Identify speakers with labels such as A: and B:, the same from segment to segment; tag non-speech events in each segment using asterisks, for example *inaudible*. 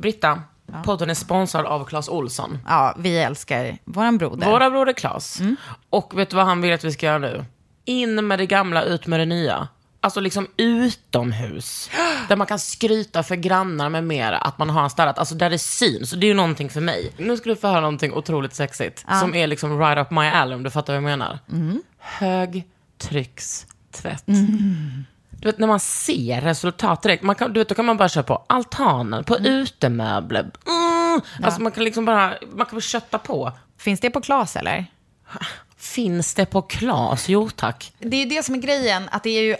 A: Britta, podden är sponsrad av Clas Olsson.
B: Ja, vi älskar våran broder.
A: Våra broder Clas. Och vet du vad han vill att vi ska göra nu? In med det gamla, ut med det nya. Alltså liksom utomhus. Där man kan skryta för grannar med mera att man har en städat. Alltså där det syns. Det är ju någonting för mig. Nu ska du få höra någonting otroligt sexigt. Som är liksom right up my alley om du fattar vad jag menar. Högtryckstvätt. Du vet när man ser resultat direkt, man kan, du vet, då kan man bara köra på altanen, på utemöbler. Mm. Alltså man kan liksom bara, man kan bara kötta på.
B: Finns det på Klas eller?
A: Finns det på Klas? Jo tack.
B: Det är ju det som är grejen, att det är ju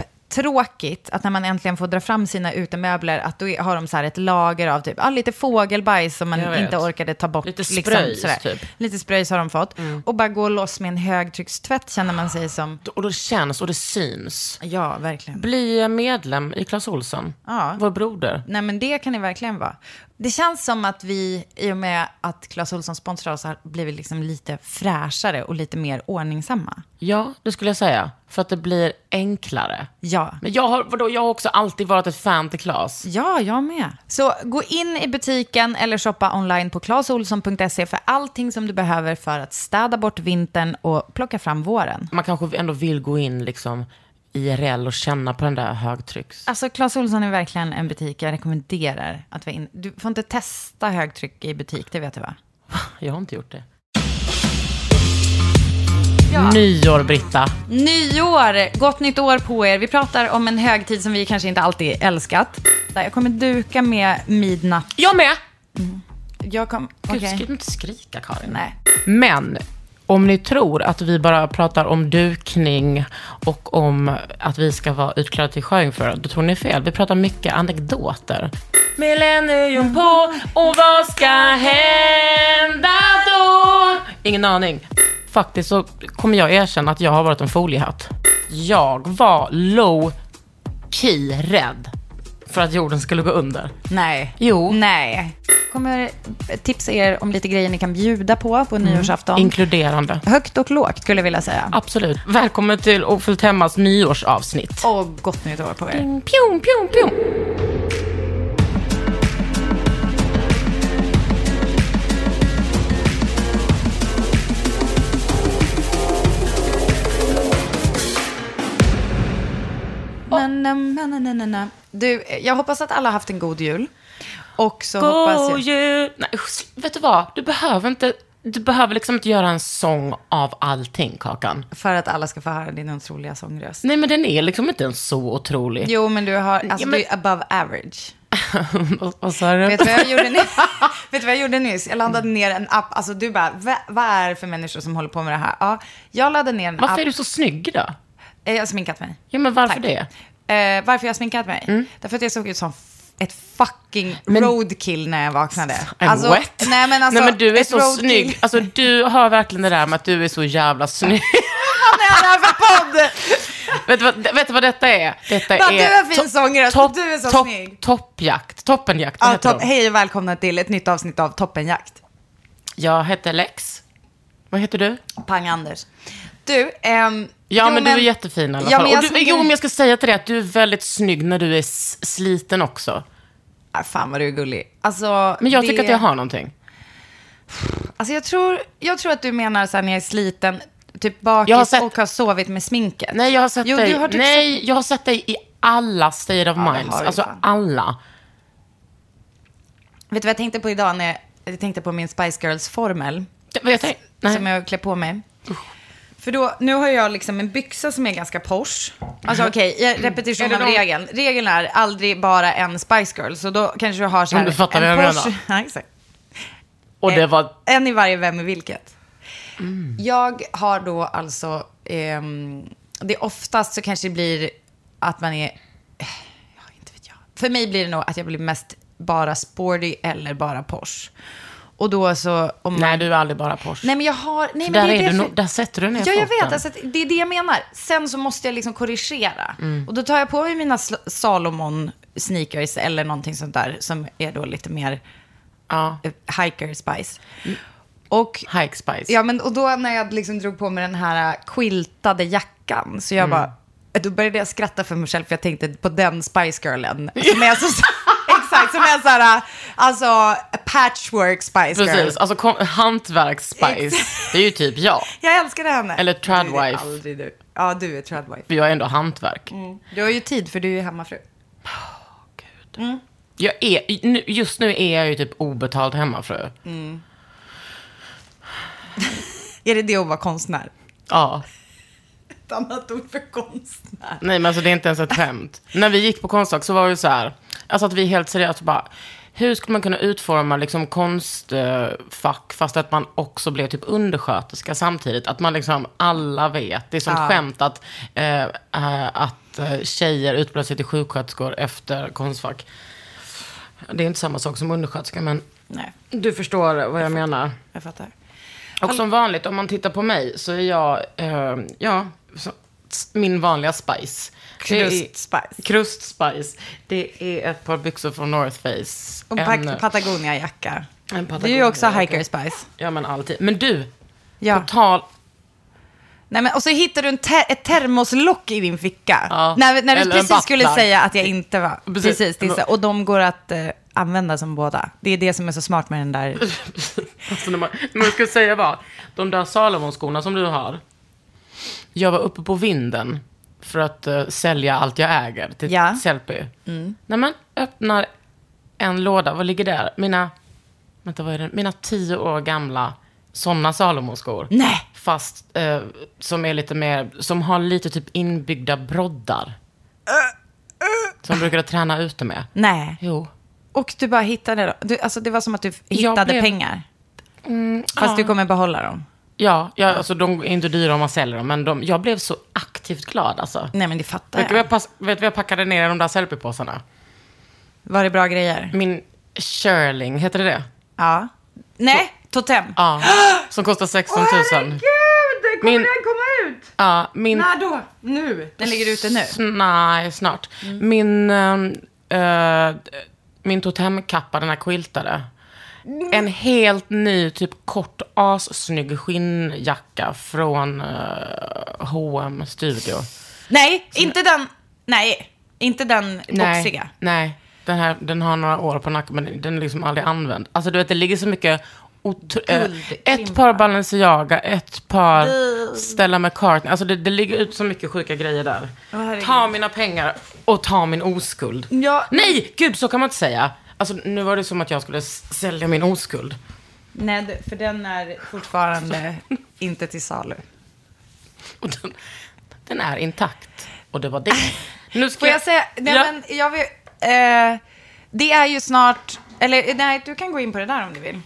B: aptråkigt att när man äntligen får dra fram sina utemöbler, att då är- har de så här ett lager av typ, ah, lite fågelbajs som
A: Jag
B: man
A: vet.
B: inte orkade ta bort.
A: Lite
B: liksom,
A: spröjs,
B: sådär.
A: typ.
B: Lite spröjs har de fått. Och bara gå loss med en högtryckstvätt känner man sig som.
A: Och då känns och det syns.
B: Ja, verkligen.
A: Bli medlem i Clas Ohlson,
B: Ja.
A: vår broder.
B: Nej, men det kan det verkligen vara. Det känns som att vi, i och med att Clas Ohlson sponsrar oss, har blivit liksom lite fräschare och lite mer ordningsamma.
A: Ja, det skulle jag säga. För att det blir enklare.
B: Ja.
A: Men jag har, vadå, jag har också alltid varit ett fan till Clas.
B: Ja, jag med. Så gå in i butiken eller shoppa online på clasohlson.se för allting som du behöver för att städa bort vintern och plocka fram våren.
A: Man kanske ändå vill gå in liksom IRL och känna på den där högtrycks... *laughs*
B: Alltså, Clas Ohlson är verkligen en butik jag rekommenderar att vara in. Du får inte testa högtryck i butik, det vet du va?
A: Jag har inte gjort det.
B: Ja.
A: Nyår, Britta.
B: Nyår! Gott nytt år på er. Vi pratar om en högtid som vi kanske inte alltid älskat. Där Jag kommer duka med midnatt.
A: Jag med!
B: Jag kom...
A: Gud,
B: Okej.
A: ska du inte skrika, Karin?
B: Nej.
A: Men om ni tror att vi bara pratar om dukning och om att vi ska vara utklädda till sjöjungfrur, då tror ni fel. Vi pratar mycket anekdoter. Millennium på och vad ska hända då? Ingen aning. Faktiskt så kommer jag erkänna att jag har varit en foliehatt. Jag var low key rädd för att jorden skulle gå under.
B: Nej.
A: Jo.
B: Nej. kommer tipsa er om lite grejer ni kan bjuda på på nyårsafton.
A: Inkluderande.
B: Högt och lågt skulle jag vilja säga.
A: Absolut. Välkommen till Ofullt Hemmas nyårsavsnitt.
B: Och oh, gott nytt år på er.
A: Pjong, pjong, pjong.
B: Na, na, na, na, na, na, na. Du, eh, jag hoppas att alla har haft en god jul. Och så hoppas jag...
A: jul. Nej, usch, vet du vad? Du behöver inte... Du behöver liksom inte göra en sång av allting, Kakan.
B: För att alla ska få höra din otroliga sångröst.
A: Nej, men den är liksom inte ens så otrolig.
B: Jo, men du har... Alltså,
A: Ja, men-
B: du är above average.
A: *laughs* Vad- Vad sa du?
B: Vet du vad jag gjorde *laughs* nyss? Vet du vad jag gjorde nyss? Jag laddade ner en app. Alltså du bara, "Va- vad är det för människor som håller på med det här? Ja, jag laddade ner en
A: Varför är
B: app.
A: du så snygg då?
B: Eh, Jag har sminkat mig.
A: Ja, men varför
B: Tack.
A: det?
B: Eh, varför jag har sminkat mig?
A: Mm.
B: Därför att jag såg ut som f- ett fucking roadkill när jag vaknade.
A: I'm wet.
B: Nej men alltså,
A: nej, men du är
B: ett
A: så
B: roadkill. *laughs*
A: snygg. Alltså, du har verkligen det där med att du är så jävla snygg.
B: Vad är det här för
A: *laughs*
B: podd?
A: vet, du vad, vet du vad detta är? Detta
B: Bara,
A: är...
B: du har fin
A: to-
B: sångröst,
A: topp-
B: du är så
A: topp-
B: snygg.
A: Toppjakt. Toppenjakt. vad
B: Ja,
A: heter
B: topp,
A: de?
B: hej och välkomna till ett nytt avsnitt av Toppenjakt.
A: Jag heter Lex. Vad heter du?
B: Pang-Anders. Du, ehm,
A: Ja,
B: jo,
A: men du är jättefin i alla
B: Ja,
A: fall.
B: men
A: och
B: jag
A: du,
B: sminkar-
A: Jo, men jag ska säga till dig att du är väldigt snygg när du är s- sliten också.
B: Ah, fan vad du är gullig. Alltså,
A: Men jag
B: det-
A: tycker att jag har någonting.
B: Alltså jag tror, jag tror att du menar så här när jag är sliten, typ bakis
A: Jag har sett-
B: och har sovit med sminket.
A: Nej, jag har sett
B: jo,
A: dig.
B: Du har typ sett...
A: Nej, jag har sett dig i alla state of
B: det
A: minds.
B: har du
A: Alltså
B: fan.
A: alla.
B: Vet du vad jag tänkte på idag när jag, jag tänkte på min Spice Girls-formel
A: Det- vad jag tänk- Nej.
B: som jag klär på mig? För då, nu har jag liksom en byxa som är ganska Porsche. Alltså okej, okay, repetition
A: Mm. Är
B: av
A: det de-
B: regeln. Regeln är aldrig bara en Spice Girl, så då kanske du har så
A: Om
B: här
A: du fattar
B: en
A: vad jag menar.
B: *laughs* Ja, exakt. Eh,
A: Och det var... Mm.
B: En i varje, vem i vilket. Jag har då alltså, ehm, det är oftast så kanske det blir att man är, eh, ja inte vet jag, För mig blir det nog att jag blir mest bara sporty eller bara Porsche. Och då så... Om man...
A: Nej, du är aldrig bara Porsche.
B: Nej, men jag har... Nej, men
A: där,
B: det är
A: är du,
B: därför-
A: nog- där sätter du ner
B: Ja, jag
A: foten.
B: vet. Alltså, att det är det jag menar. Sen så måste jag liksom korrigera.
A: Mm.
B: Och då tar jag på mig mina sl- Salomon-sneakers eller någonting sånt där som är då lite mer
A: ja.
B: eh, hiker spice.
A: Mm.
B: Och,
A: Hike Spice.
B: ja, men, och då när jag liksom drog på mig den här eh, quiltade jackan, så jag
A: Mm.
B: bara... eh, Då började jag skratta för mig själv, för jag tänkte på den Spice Girlen. Som är så, *laughs* exakt, som är så här, eh, alltså patchwork Spice Girl.
A: Precis, alltså kom, hantverks-spice. Det är ju typ jag.
B: Jag älskade henne.
A: Eller
B: Nej, det är
A: tradwife.
B: aldrig du. Ja, du är tradwife.
A: För jag är ändå hantverk.
B: Du har ju tid för du är ju hemmafru.
A: Jag är, nu- just nu är jag ju typ obetald hemmafru.
B: Mm. Är det det att vara konstnär?
A: Ja.
B: Ett annat ord för konstnär.
A: Nej men alltså det är inte ens ett skämt. När vi gick på Konstfack så var det så här, alltså att vi helt seriöst bara, hur skulle man kunna utforma liksom konstfack fast att man också blev typ undersköterska samtidigt? Att man liksom, alla vet, det är sånt
B: Ja.
A: skämt att, eh, eh, att eh, tjejer utbildar sig till sjuksköterskor efter Konstfack. Det är inte samma sak som undersköterska men
B: Nej,
A: du förstår vad jag menar.
B: jag fattar.
A: Och som vanligt, om man tittar på mig, så är jag, eh, ja, så, min vanliga spice. Det är-
B: Krustspice.
A: Krustspice. Det är ett par byxor från North Face.
B: Och
A: en,
B: pa- Patagonia-jacka.
A: en
B: Det är ju också
A: Patagonia-jacka.
B: hiker spice.
A: Ja, men alltid. Men du,
B: Ja.
A: på tal... *laughs*
B: Nej, men, och så hittar du en ter- ett termoslock i din ficka.
A: Ja.
B: När, när du
A: Eller en
B: precis skulle
A: butler.
B: säga att jag inte var...
A: Precis.
B: Precis. det är så. Och de går att eh, använda som båda. Det är det som är så smart med den där...
A: Alltså, när man, när man ska säga vad? De där Salomon-skorna som du har. Jag var uppe på vinden för att eh, sälja allt jag äger till
B: Ja. Mm.
A: Sellpy. När man öppnar en låda, vad ligger där? Mina, vänta, vad är det? Mina tio år gamla sådana Salomon-skor.
B: Nej!
A: Fast eh, som är lite mer, som har lite typ inbyggda broddar. Som jag brukade träna ute med.
B: Nej.
A: Jo.
B: Och du bara hittade dem. Du, alltså, det var som att du hittade
A: blev- Mm,
B: pengar. Fast du kommer behålla dem.
A: Ja, ja, alltså de är inte dyra om man säljer dem, men de, jag blev så aktivt glad alltså.
B: Nej, men det fattar
A: Vet du vad
B: jag.
A: jag, pass, vet du vad jag packade ner i de där selfiepåsarna?
B: Var det bra grejer?
A: Min Shirling, heter det det?
B: Ja. Nej, totem.
A: Ja. Som kostar 16 000.
B: Herregud,
A: Min-
B: komma ut?
A: Ja, min...
B: När då? Nu? Den ligger ute nu.
A: S- Nej, snart. Min, eh, eh, min totemkappa, den här quiltade. En helt ny, typ kort, assnygg skinnjacka från eh, H&M Studio.
B: Nej, inte den. Nej, inte den boxiga.
A: nej. Den, här, den har några år på nacken, men den är liksom aldrig använd. Alltså du vet, det ligger så mycket... Otro- eh, ett par Balenciaga, ett par Stella McCartney. Alltså det, det ligger ut så mycket sjuka grejer där.
B: Åh, herregud.
A: ta mina pengar och ta min oskuld.
B: Ja.
A: Nej, gud så kan man inte säga. Alltså nu var det som att jag skulle s- sälja min oskuld.
B: Nej, du- för den är
A: *laughs*
B: fortfarande inte till salu.
A: Och den, den är intakt. Och det var det. Nu ska
B: Får jag säga, nej
A: Ja.
B: men jag vill, eh, det är ju snart, eller nej, du kan gå in på det där om du vill.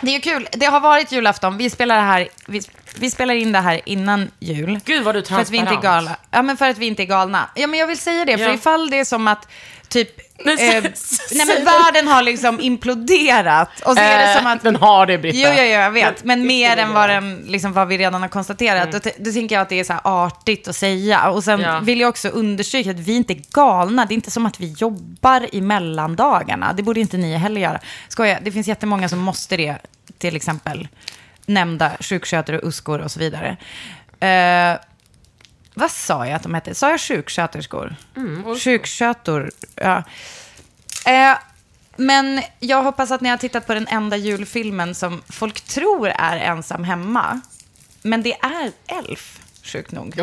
B: Det är ju kul, det har varit julafton, vi spelar, det här, vi, vi spelar in det här innan jul.
A: Gud vad du är
B: För att vi inte är
A: transparent.
B: galna. Ja, men för att vi inte är galna. Ja, men jag vill säga det, för
A: Ja.
B: ifall det är som att typ...
A: *laughs* Nej, s-
B: eh,
A: s- säg
B: nej, men
A: det.
B: världen har liksom imploderat. Och så är det
A: Eh,
B: som att...
A: Den har det, Britta.
B: Jo, jo, jo, jag vet. Men mer än vad,
A: det. Mm.
B: den, liksom, vad vi redan har konstaterat. Då, t- då tänker jag att det är så här artigt att säga. Och sen
A: Ja.
B: vill jag också understryka att vi inte är galna. Det är inte som att vi jobbar i mellandagarna. Det borde inte ni heller göra. Skoja, det finns jättemånga som måste det. Till exempel nämnda sjukskötare och uskor och så vidare. Eh, vad sa jag att de hette? Sa jag sjuksköterskor? Mm, Sjukskötor, ja. Eh, men jag hoppas att ni har tittat på den enda julfilmen som folk tror är ensam hemma. Men det är Elf, sjukt nog.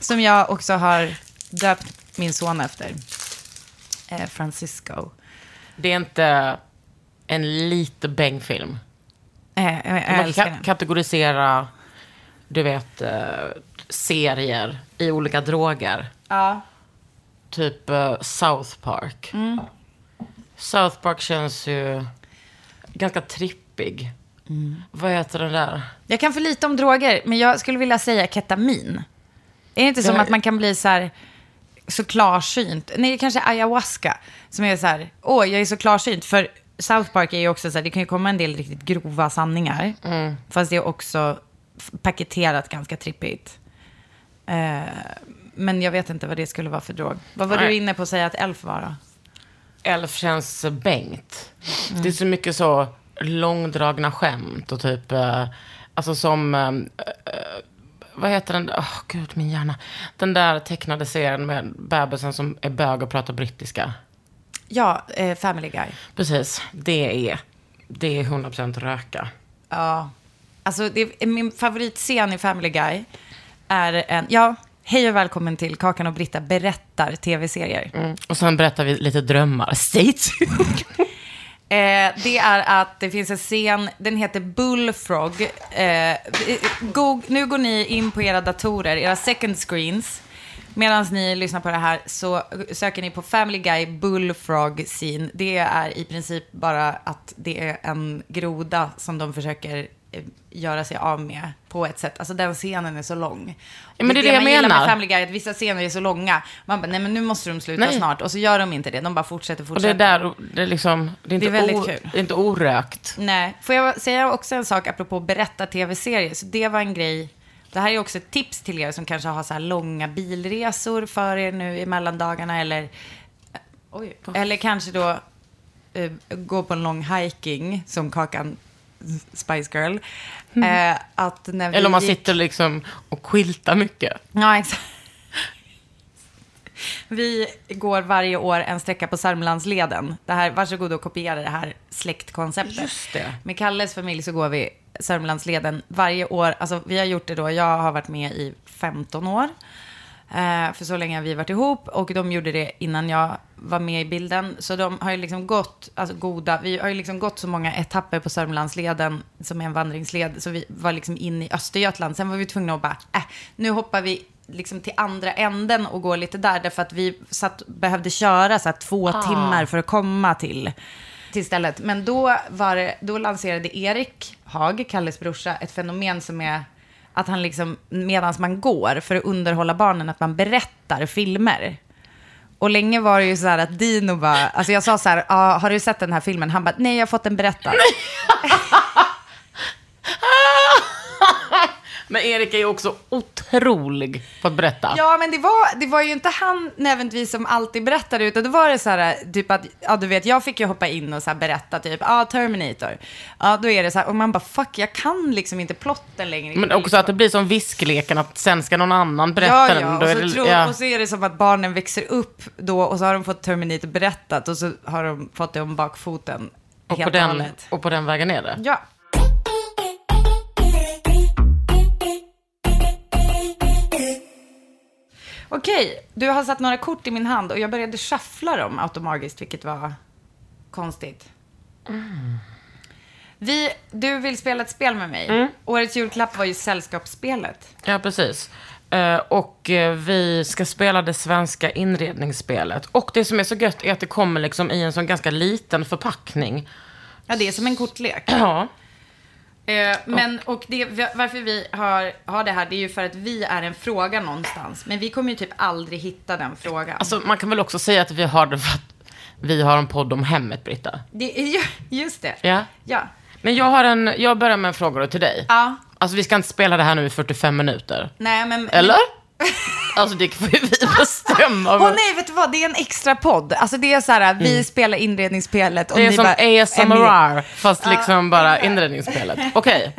B: Som jag också har döpt min son efter. Eh, Francisco.
A: Det är inte en lite bängfilm.
B: Eh, jag- jag
A: Man
B: älskar
A: kan
B: den.
A: kategorisera, du vet, eh, serier i olika droger.
B: Ja.
A: Typ eh, South Park.
B: Mm.
A: South Park känns ju ganska trippig.
B: Mm.
A: Vad heter den där?
B: Jag kan för lite om droger, men jag skulle vilja säga ketamin. Är det inte som
A: Det-
B: att man kan bli så här... så klarsynt. Nej, det kanske är ayahuasca. Som är så här, åh, jag är så klarsynt. För South Park är ju också så här, det kan ju komma en del riktigt grova sanningar. Fast det är också f- paketerat ganska trippigt. Eh, men jag vet inte vad det skulle vara för drog. Vad var du
A: Nej.
B: inne på att säga att elf var då?
A: Elf känns Bengt. Det är
B: Mm.
A: så mycket så långdragna skämt och typ, eh, alltså som, eh, eh, vad heter den, åh gud min hjärna. Den där tecknade serien med bebisen som är bög och pratar brittiska.
B: Ja, eh, Family Guy.
A: Precis, det är, det är 100% röka.
B: Ja. Alltså, det, min favoritscen i Family Guy är en... Ja, hej och välkommen till Kakan och Britta berättar tv-serier.
A: Mm. Och sen berättar vi lite drömmar. *laughs* Stay tuned.
B: *laughs* Eh, det är att det finns en scen, den heter Bullfrog. Eh, go, nu går ni in på era datorer, era second screens. Medan ni lyssnar på det här så söker ni på Family Guy Bullfrog scene. Det är i princip bara att det är en groda som de försöker eh, göra sig av med på ett sätt. Alltså den scenen är så lång.
A: Ja, men det är det
B: man
A: jag
B: gillar
A: menar.
B: med Family Guy, att vissa scener är så långa. Man bara, nej men nu måste de sluta
A: Nej.
B: snart. Och så gör de inte det, de bara fortsätter,
A: Och
B: fortsätter.
A: det är där, det är liksom, det är inte,
B: Det är väldigt
A: o,
B: kul.
A: det är inte orökt.
B: Nej, får jag säga också en sak apropå berätta tv-serier? Så det var en grej. Det här är också ett tips till er som kanske har så här långa bilresor för er nu i mellandagarna eller, eh,
A: Oj.
B: eller kanske då eh, gå på en lång hiking som Kakan Spice Girl. Eh, att när vi
A: Mm. Eller om man
B: gick-
A: sitter liksom och skyltar mycket.
B: Ja, exakt. *laughs* Vi går varje år en sträcka på Sörmlandsleden. Det här, varsågod och kopiera det här släktkonceptet.
A: Just det.
B: Med Kalles familj så går vi Sörmlandsleden varje år. Alltså, vi har gjort det då. Jag har varit med i 15 år. Eh, för så länge har vi varit ihop. Och de gjorde det innan jag var med i bilden. Så de har ju liksom gått, alltså goda, vi har ju liksom gått så många etapper på Sörmlandsleden som är en vandringsled. Så vi var liksom in i Östergötland. Sen var vi tvungna att bara, äh, nu hoppar vi liksom till andra änden och går lite där. Därför att vi satt, behövde köra så här två timmar för att komma till till stället. Men då, var det, då lanserade Erik Haag, Kalles brorsa, ett fenomen som är att han liksom, medan man går, för att underhålla barnen, att man berättar filmer. Och länge var det ju så här att Dino bara, alltså jag sa så här, ah, har du sett den här filmen? Han bara, nej jag har fått den berättad. *laughs*
A: Men Erik är ju också otrolig på att berätta.
B: Ja, men det var, det var ju inte han nödvändigtvis som alltid berättade, utan det var det så här, typ att, ja du vet, jag fick ju hoppa in och så här berätta typ, ja ah, Terminator. Ja, då är det så här, och man bara, fuck, jag kan liksom inte plotten längre.
A: Men också att det blir som viskleken, att sen ska någon annan berätta
B: Ja,
A: den.
B: ja,
A: Då
B: och
A: är
B: så,
A: det-
B: tror,
A: ja.
B: och så är det som att barnen växer upp då och så har de fått Terminator berättat och så har de fått det om bakfoten
A: och,
B: helt
A: på
B: och
A: den,
B: hållet.
A: och på den vägen är det.
B: Ja. Okej, du har satt några kort i min hand och jag började shuffla dem automatiskt, vilket var konstigt. Vi, du vill spela ett spel med mig. Årets julklapp var ju Sällskapsspelet.
A: Ja, precis. Eh, och eh, vi ska spela det svenska inredningsspelet. Och det som är så gött är att det kommer liksom i en sån ganska liten förpackning.
B: Ja, det är som en kortlek.
A: Ja.
B: Eh, men, och det, varför vi har, har det här, det är ju för att vi är en fråga någonstans. Men vi kommer ju typ aldrig hitta den frågan.
A: Alltså, man kan väl också säga att vi har det för att vi har en podd om hemmet, Britta.
B: det är ju, just det.
A: Ja.
B: Ja.
A: Men jag, har en, jag börjar med en fråga då till dig.
B: Ja.
A: Alltså, vi ska inte spela det här nu i 45 minuter.
B: Nej, men... *laughs*
A: Eller? Alltså, det får ju vi bestämma.
B: Åh nej, vet du vad? Det är en extra podd. Alltså det är så här, vi spelar inredningsspelet och
A: Mm. Det är
B: ni
A: som
B: bara...
A: ASMR, fast liksom bara inredningsspelet. Okej.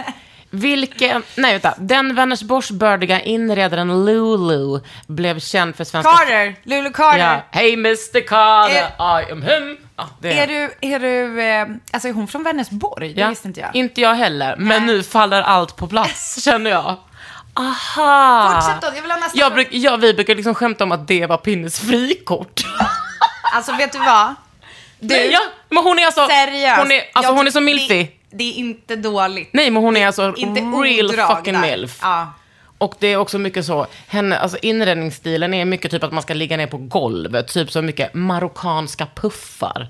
A: Vilken, nej vänta, den Vänersborgsbördiga inredaren Lulu blev känd för svenska...
B: Carter, Lulu Carter.
A: Ja. Hey Mr Carter,
B: Är-
A: I am him. Ja, det
B: Är du, är du, eh, alltså är hon från Vänersborg? Det visste inte jag.
A: Inte jag heller, men nu faller allt på plats,
B: *laughs*
A: känner jag. Aha!
B: Fortsätt då, jag vill ha nästa
A: jag
B: fråga.
A: bruk, ja, Vi brukar liksom skämta om att det var Pinnes frikort.
B: Alltså vet du vad? Du,
A: ja, men hon är alltså...
B: seriöst.
A: Hon är, alltså,
B: Jag
A: hon är så
B: tycker
A: milfig.
B: Det, det är inte dåligt.
A: Nej, men hon är alltså
B: inte
A: real
B: odrag
A: fucking
B: där.
A: milf.
B: Ja.
A: Och det är också mycket så, henne, alltså inredningsstilen är mycket typ att man ska ligga ner på golvet, typ så mycket marockanska puffar.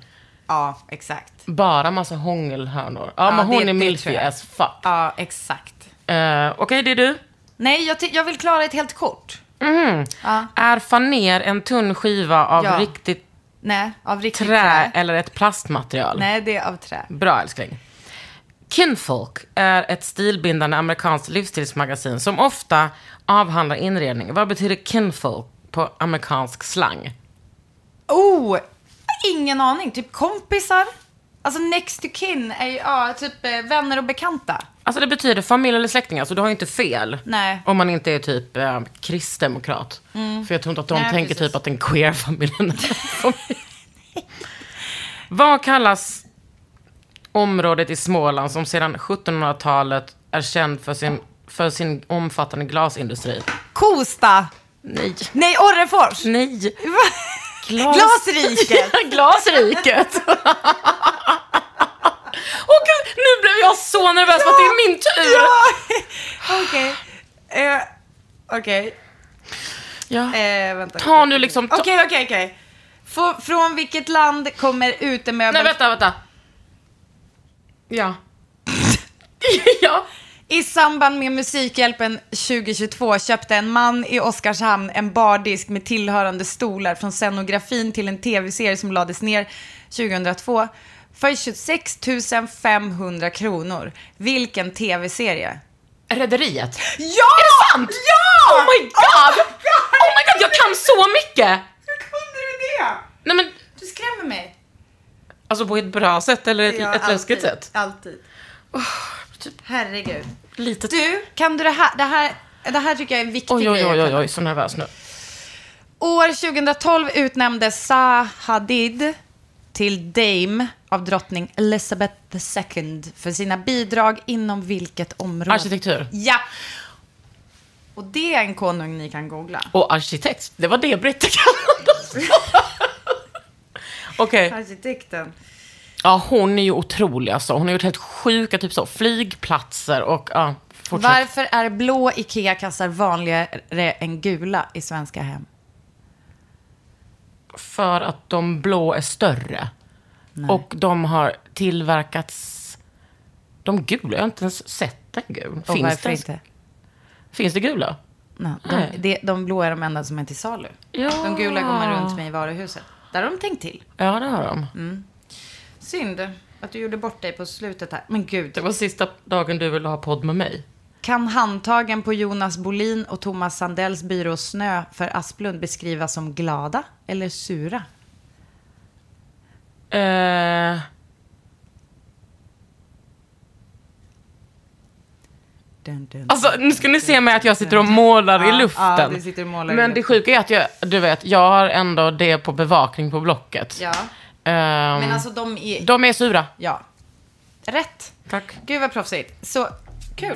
B: Ja, exakt.
A: Bara massa hångelhörnor. Ja,
B: Ja,
A: men hon
B: det-
A: är
B: det
A: milfig
B: tror jag.
A: as fuck.
B: Ja, exakt.
A: Eh, Okej, det är du.
B: Nej, jag, ty- jag vill klara ett helt kort.
A: Mhm.
B: Ja.
A: Är faner en tunn skiva av
B: Ja.
A: riktigt
B: Nej, av riktigt
A: trä eller ett plastmaterial?
B: Nej, det är av trä.
A: Bra älskling. Kinfolk är ett stilbindande amerikanskt livsstilsmagasin som ofta avhandlar inredning. Vad betyder kinfolk på amerikansk slang?
B: Oh, ingen aning. Typ kompisar. Alltså next to kin är ju ja, typ eh, vänner och bekanta.
A: Alltså det betyder familj eller släktingar, så du har ju inte fel.
B: Nej. Mm.
A: Om man inte är typ eh, kristdemokrat. För jag tror inte att de
B: Nej,
A: tänker
B: precis.
A: typ att den queer familjen
B: *laughs*
A: är en familj. Vad kallas området i Småland som sedan 1700-talet är känd för sin, för sin omfattande glasindustri?
B: Kosta.
A: Nej.
B: Nej, Orrefors.
A: Nej. Glas-
B: Glasriket.
A: Ja, *laughs* Glasriket. Åh gud, nu blev jag så nervös för att det är min tur.
B: *laughs*
A: *laughs*
B: Ja. Okej. Eh, Okej.
A: Ja.
B: Eh, vänta.
A: Ta nu liksom... Ta...
B: Okej, okej, okej. Få- Från vilket land kommer utemöbel?
A: Nej, vänta, vänta. Ja. *laughs* ja.
B: I samband med Musikhjälpen 2022 köpte en man i Oskarshamn en bardisk med tillhörande stolar från scenografin till en tv-serie som lades ner 2002 för 26 500 kronor. Vilken tv-serie?
A: Rederiet.
B: Ja! Är det sant? Ja!
A: Oh my god! Oh my god, jag kan så mycket!
B: Hur kunde du det?
A: Nej men,
B: Du skrämmer mig.
A: alltså på ett bra sätt eller ett, ett läskigt sätt?
B: Alltid. Oh, typ. Herregud.
A: Lite...
B: Du, kan du det här? Det här, det här tycker jag är en viktig
A: Oj, oj,
B: grej.
A: oj, oj, oj, så nervös nu.
B: År 2012 utnämndes Zaha Hadid till Dame av drottning Elizabeth II för sina bidrag inom vilket område?
A: Arkitektur.
B: Ja. Och det är en konung ni kan googla.
A: Och arkitekt, det var det britter kallades *laughs* för. Okej,
B: Arkitekten.
A: ja hon är ju otrolig alltså. Hon har gjort helt sjuka typ så, flygplatser och ja, fortsätt.
B: Varför är blå IKEA-kassar vanligare än gula i svenska hem?
A: För att de blå är större. Och de har tillverkats... De gula, jag har inte ens sett en gul. Finns
B: Och varför
A: det, ens-
B: inte?
A: finns det gula?
B: Nej, de,
A: Nej.
B: det- de blå är de enda som är till salu.
A: Ja.
B: De gula går man runt med i varuhuset. Där har de tänkt till.
A: Ja, det har de.
B: Mm. Synd att du gjorde bort dig på slutet här. Men
A: Det
B: gud.
A: var sista dagen du ville ha podd med mig.
B: Kan handtagen på Jonas Bolin och Thomas Sandells byrå Snö för Asplund beskrivas som glada eller sura?
A: Eh,
B: Dun, dun.
A: alltså, nu ska ni se mig att jag sitter och målar i
B: Ja,
A: luften.
B: ja, du sitter och målar i
A: Men det
B: luften.
A: sjuka är att jag, du vet, jag har ändå det på bevakning på Blocket.
B: Ja.
A: Ehm,
B: Men alltså de är...
A: De är sura.
B: Ja. Rätt.
A: Tack.
B: Gud vad proffsigt. Så kul.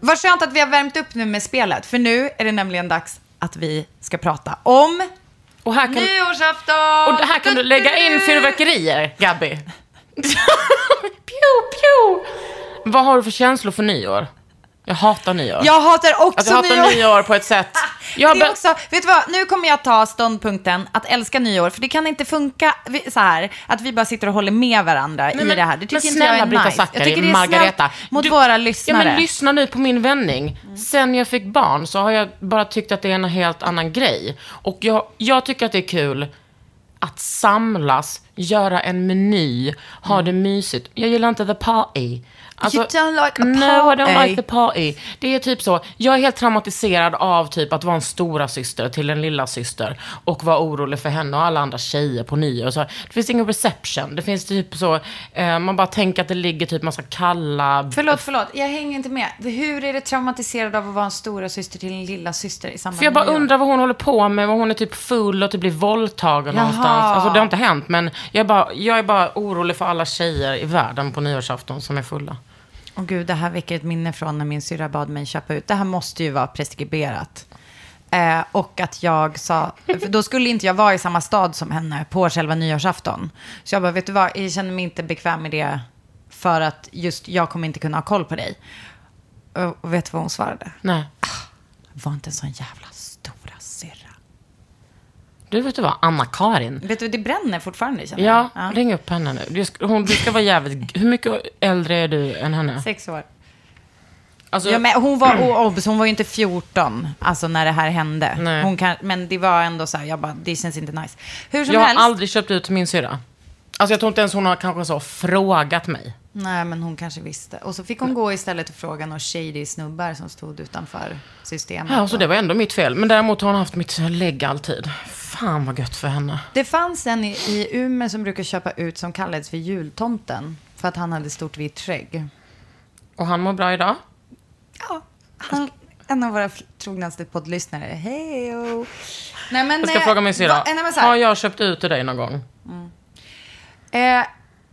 B: Vad skönt att vi har värmt upp nu med spelet, för nu är det nämligen dags att vi ska prata om
A: Och här kan,
B: nyårsafton!
A: och här kan du lägga in fyrverkerier,
B: *laughs*
A: Gabby. pju, pju. Vad har du för känslor för nyår? Jag hatar nyår.
B: Jag hatar också
A: Alltså, jag hatar nyår. på ett
B: *laughs*
A: sätt. Jag
B: det
A: be-
B: är också, vet du vad, nu kommer jag ta ståndpunkten att älska nyår, för det kan inte funka vi- så här att vi bara sitter och håller med varandra i
A: men-
B: det här. Det
A: men
B: tycker inte
A: snälla
B: jag är
A: Brita
B: nice.
A: Zackari,
B: jag tycker det är
A: Margareta.
B: snällt mot
A: Du-
B: våra
A: Ja,
B: lyssnare.
A: men lyssna nu på min vändning. Sen jag fick barn så har jag bara tyckt att det är en helt annan grej. Och jag, jag tycker att det är kul att samlas, göra en meny, ha det mysigt. Jag gillar inte the party.
B: Mm.
A: Alltså,
B: You don't like a
A: No, I don't
B: party.
A: like the party. Det är typ så. Jag är helt traumatiserad av typ att vara en stora syster till en lilla syster och vara orolig för henne och alla andra tjejer på nyår. och Så det finns ingen reception. Det finns typ så, eh, man bara tänker att det ligger typ massa kalla
B: Förlåt, förlåt, jag hänger inte med. Hur är det traumatiserad av att vara en stora syster till en lilla syster i samband
A: För jag bara
B: med nyår?
A: undrar vad hon håller på med, vad hon är typ full och typ blir våldtagen någonstans. Alltså det har inte hänt, men jag är, bara, jag är bara orolig för alla tjejer i världen på nyårsafton som är fulla.
B: Åh gud, det här väcker ett minne från när min syrra bad mig köpa ut. Det här måste ju vara preskriberat. Eh, och att jag sa, för då skulle inte jag vara i samma stad som henne på själva nyårsafton. Så jag bara, vet du vad, jag känner mig inte bekväm med det för att just jag kommer inte kunna ha koll på dig. Och- Och vet du vad hon svarade?
A: Nej.
B: Var inte en sån jävla stora syrra.
A: Du vet du vad, Anna-Karin.
B: Vet du, det bränner fortfarande känner jag.
A: Ja, ring upp henne nu. Du ska, hon, du ska vara jävligt... Hur mycket äldre är du än henne?
B: Sex år.
A: Alltså,
B: Ja, men hon var
A: *clears throat*
B: och obs, hon var ju inte 14 alltså, när det här hände.
A: Nej.
B: Hon kan, men det var ändå så här, jag bara, det känns inte nice. Hur som
A: jag har
B: helst.
A: aldrig köpt ut till min syrra. Alltså jag tror inte ens hon har kanske så frågat mig.
B: Nej, men hon kanske visste. Och så fick hon gå istället och fråga några shady snubbar som stod utanför systemet.
A: Ja, så det var ändå mitt fel. Men däremot har hon haft mitt lägg alltid. Fan vad gött för henne.
B: Det fanns en i, i Umeå som brukade köpa ut som kallades för jultomten. För att han hade stort vitt skägg.
A: Och han mår bra idag.
B: Ja, han, en av våra f- trognaste poddlyssnare. Hej och- Nej, men...
A: Jag ska
B: eh,
A: fråga min
B: va-
A: syrra.
B: eh, nej, men så här.
A: Har jag köpt ut till dig någon gång?
B: Eh,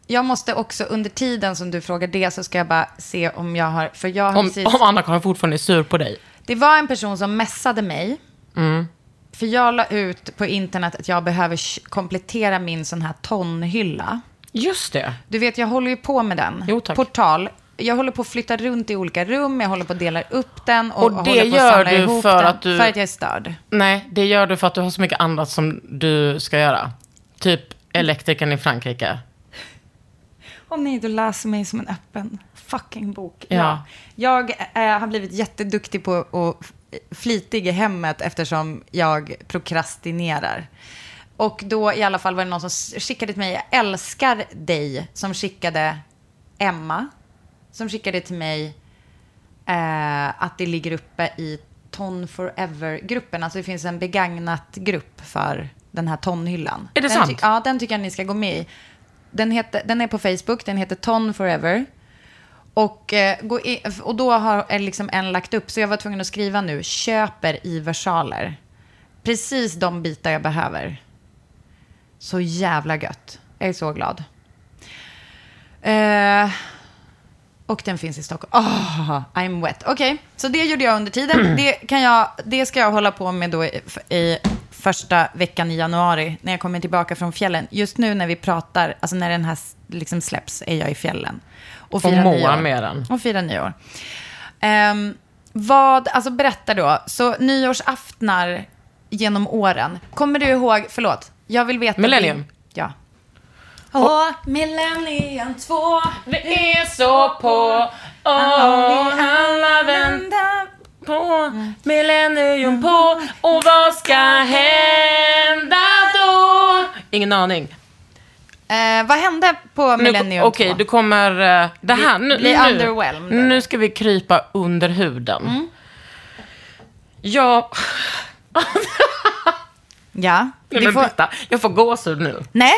B: jag måste också, under tiden som du frågar det, så ska jag bara se om jag har... För jag har
A: Om,
B: precis...
A: om Anna-Karin fortfarande är sur på dig.
B: Det var en person som messade mig.
A: Mm.
B: För jag la ut på internet att jag behöver sh- komplettera min sån här tonhylla.
A: Just det.
B: Du vet, jag håller ju på med den.
A: Jo, tack.
B: Portal. Jag håller på att flytta runt i olika rum, jag håller på att dela upp den och,
A: Och det
B: håller på
A: gör
B: att samla
A: du
B: ihop
A: för
B: den.
A: att du-
B: För att jag är störd.
A: Nej, det gör du för att du har så mycket annat som du ska göra. Typ elektrikern i Frankrike.
B: Åh nej, du läser mig som en öppen fucking bok.
A: Ja.
B: Jag eh, har blivit jätteduktig på och f- flitig i hemmet eftersom jag prokrastinerar. Och då i alla fall var det någon som s- skickade till mig, jag älskar dig, som skickade Emma, som skickade till mig eh, att det ligger uppe i Ton Forever-gruppen. Alltså det finns en begagnat grupp för den här tonhyllan.
A: Är det
B: den
A: sant?
B: tyck- ja, den tycker jag ni ska gå med i. Den, heter, den är på Facebook, den heter Ton Forever. Och, eh, gå i, och då har eh, liksom en lagt upp, så jag var tvungen att skriva nu, köper i versaler. Precis de bitar jag behöver. Så jävla gött. Jag är så glad. Eh, och den finns i Stockholm. Ah, I'm wet. Okej, så det gjorde jag
A: *clears throat*
B: under tiden. Det, kan jag, det ska jag hålla på med då i, i första veckan i januari när jag kommer tillbaka från fjällen. Just nu när vi pratar, alltså när den här s- liksom släpps, är jag i fjällen. Och firar
A: moar
B: nyår.
A: med den.
B: Och firar nyår. Ehm, vad, alltså berätta då, så nyårsaftnar genom åren. Kommer du ihåg, förlåt, jag vill veta.
A: Millennium.
B: Ja. Åh, millennium 2.
A: Det är så på,
B: åh,
A: alla
B: Vänta.
A: på millennium på och vad ska hända då? Ingen aning.
B: Eh, vad hände på
A: Nu-
B: Millennium
A: Okej,
B: 2?
A: du kommer... eh, Det här, nu,
B: bli underwhelmed, Mm.
A: nu,
B: eller?
A: nu ska vi krypa under huden. Jag...
B: Ja.
A: Nej,
B: Vi
A: men
B: får-
A: titta, jag får gåshud nu.
B: Nej.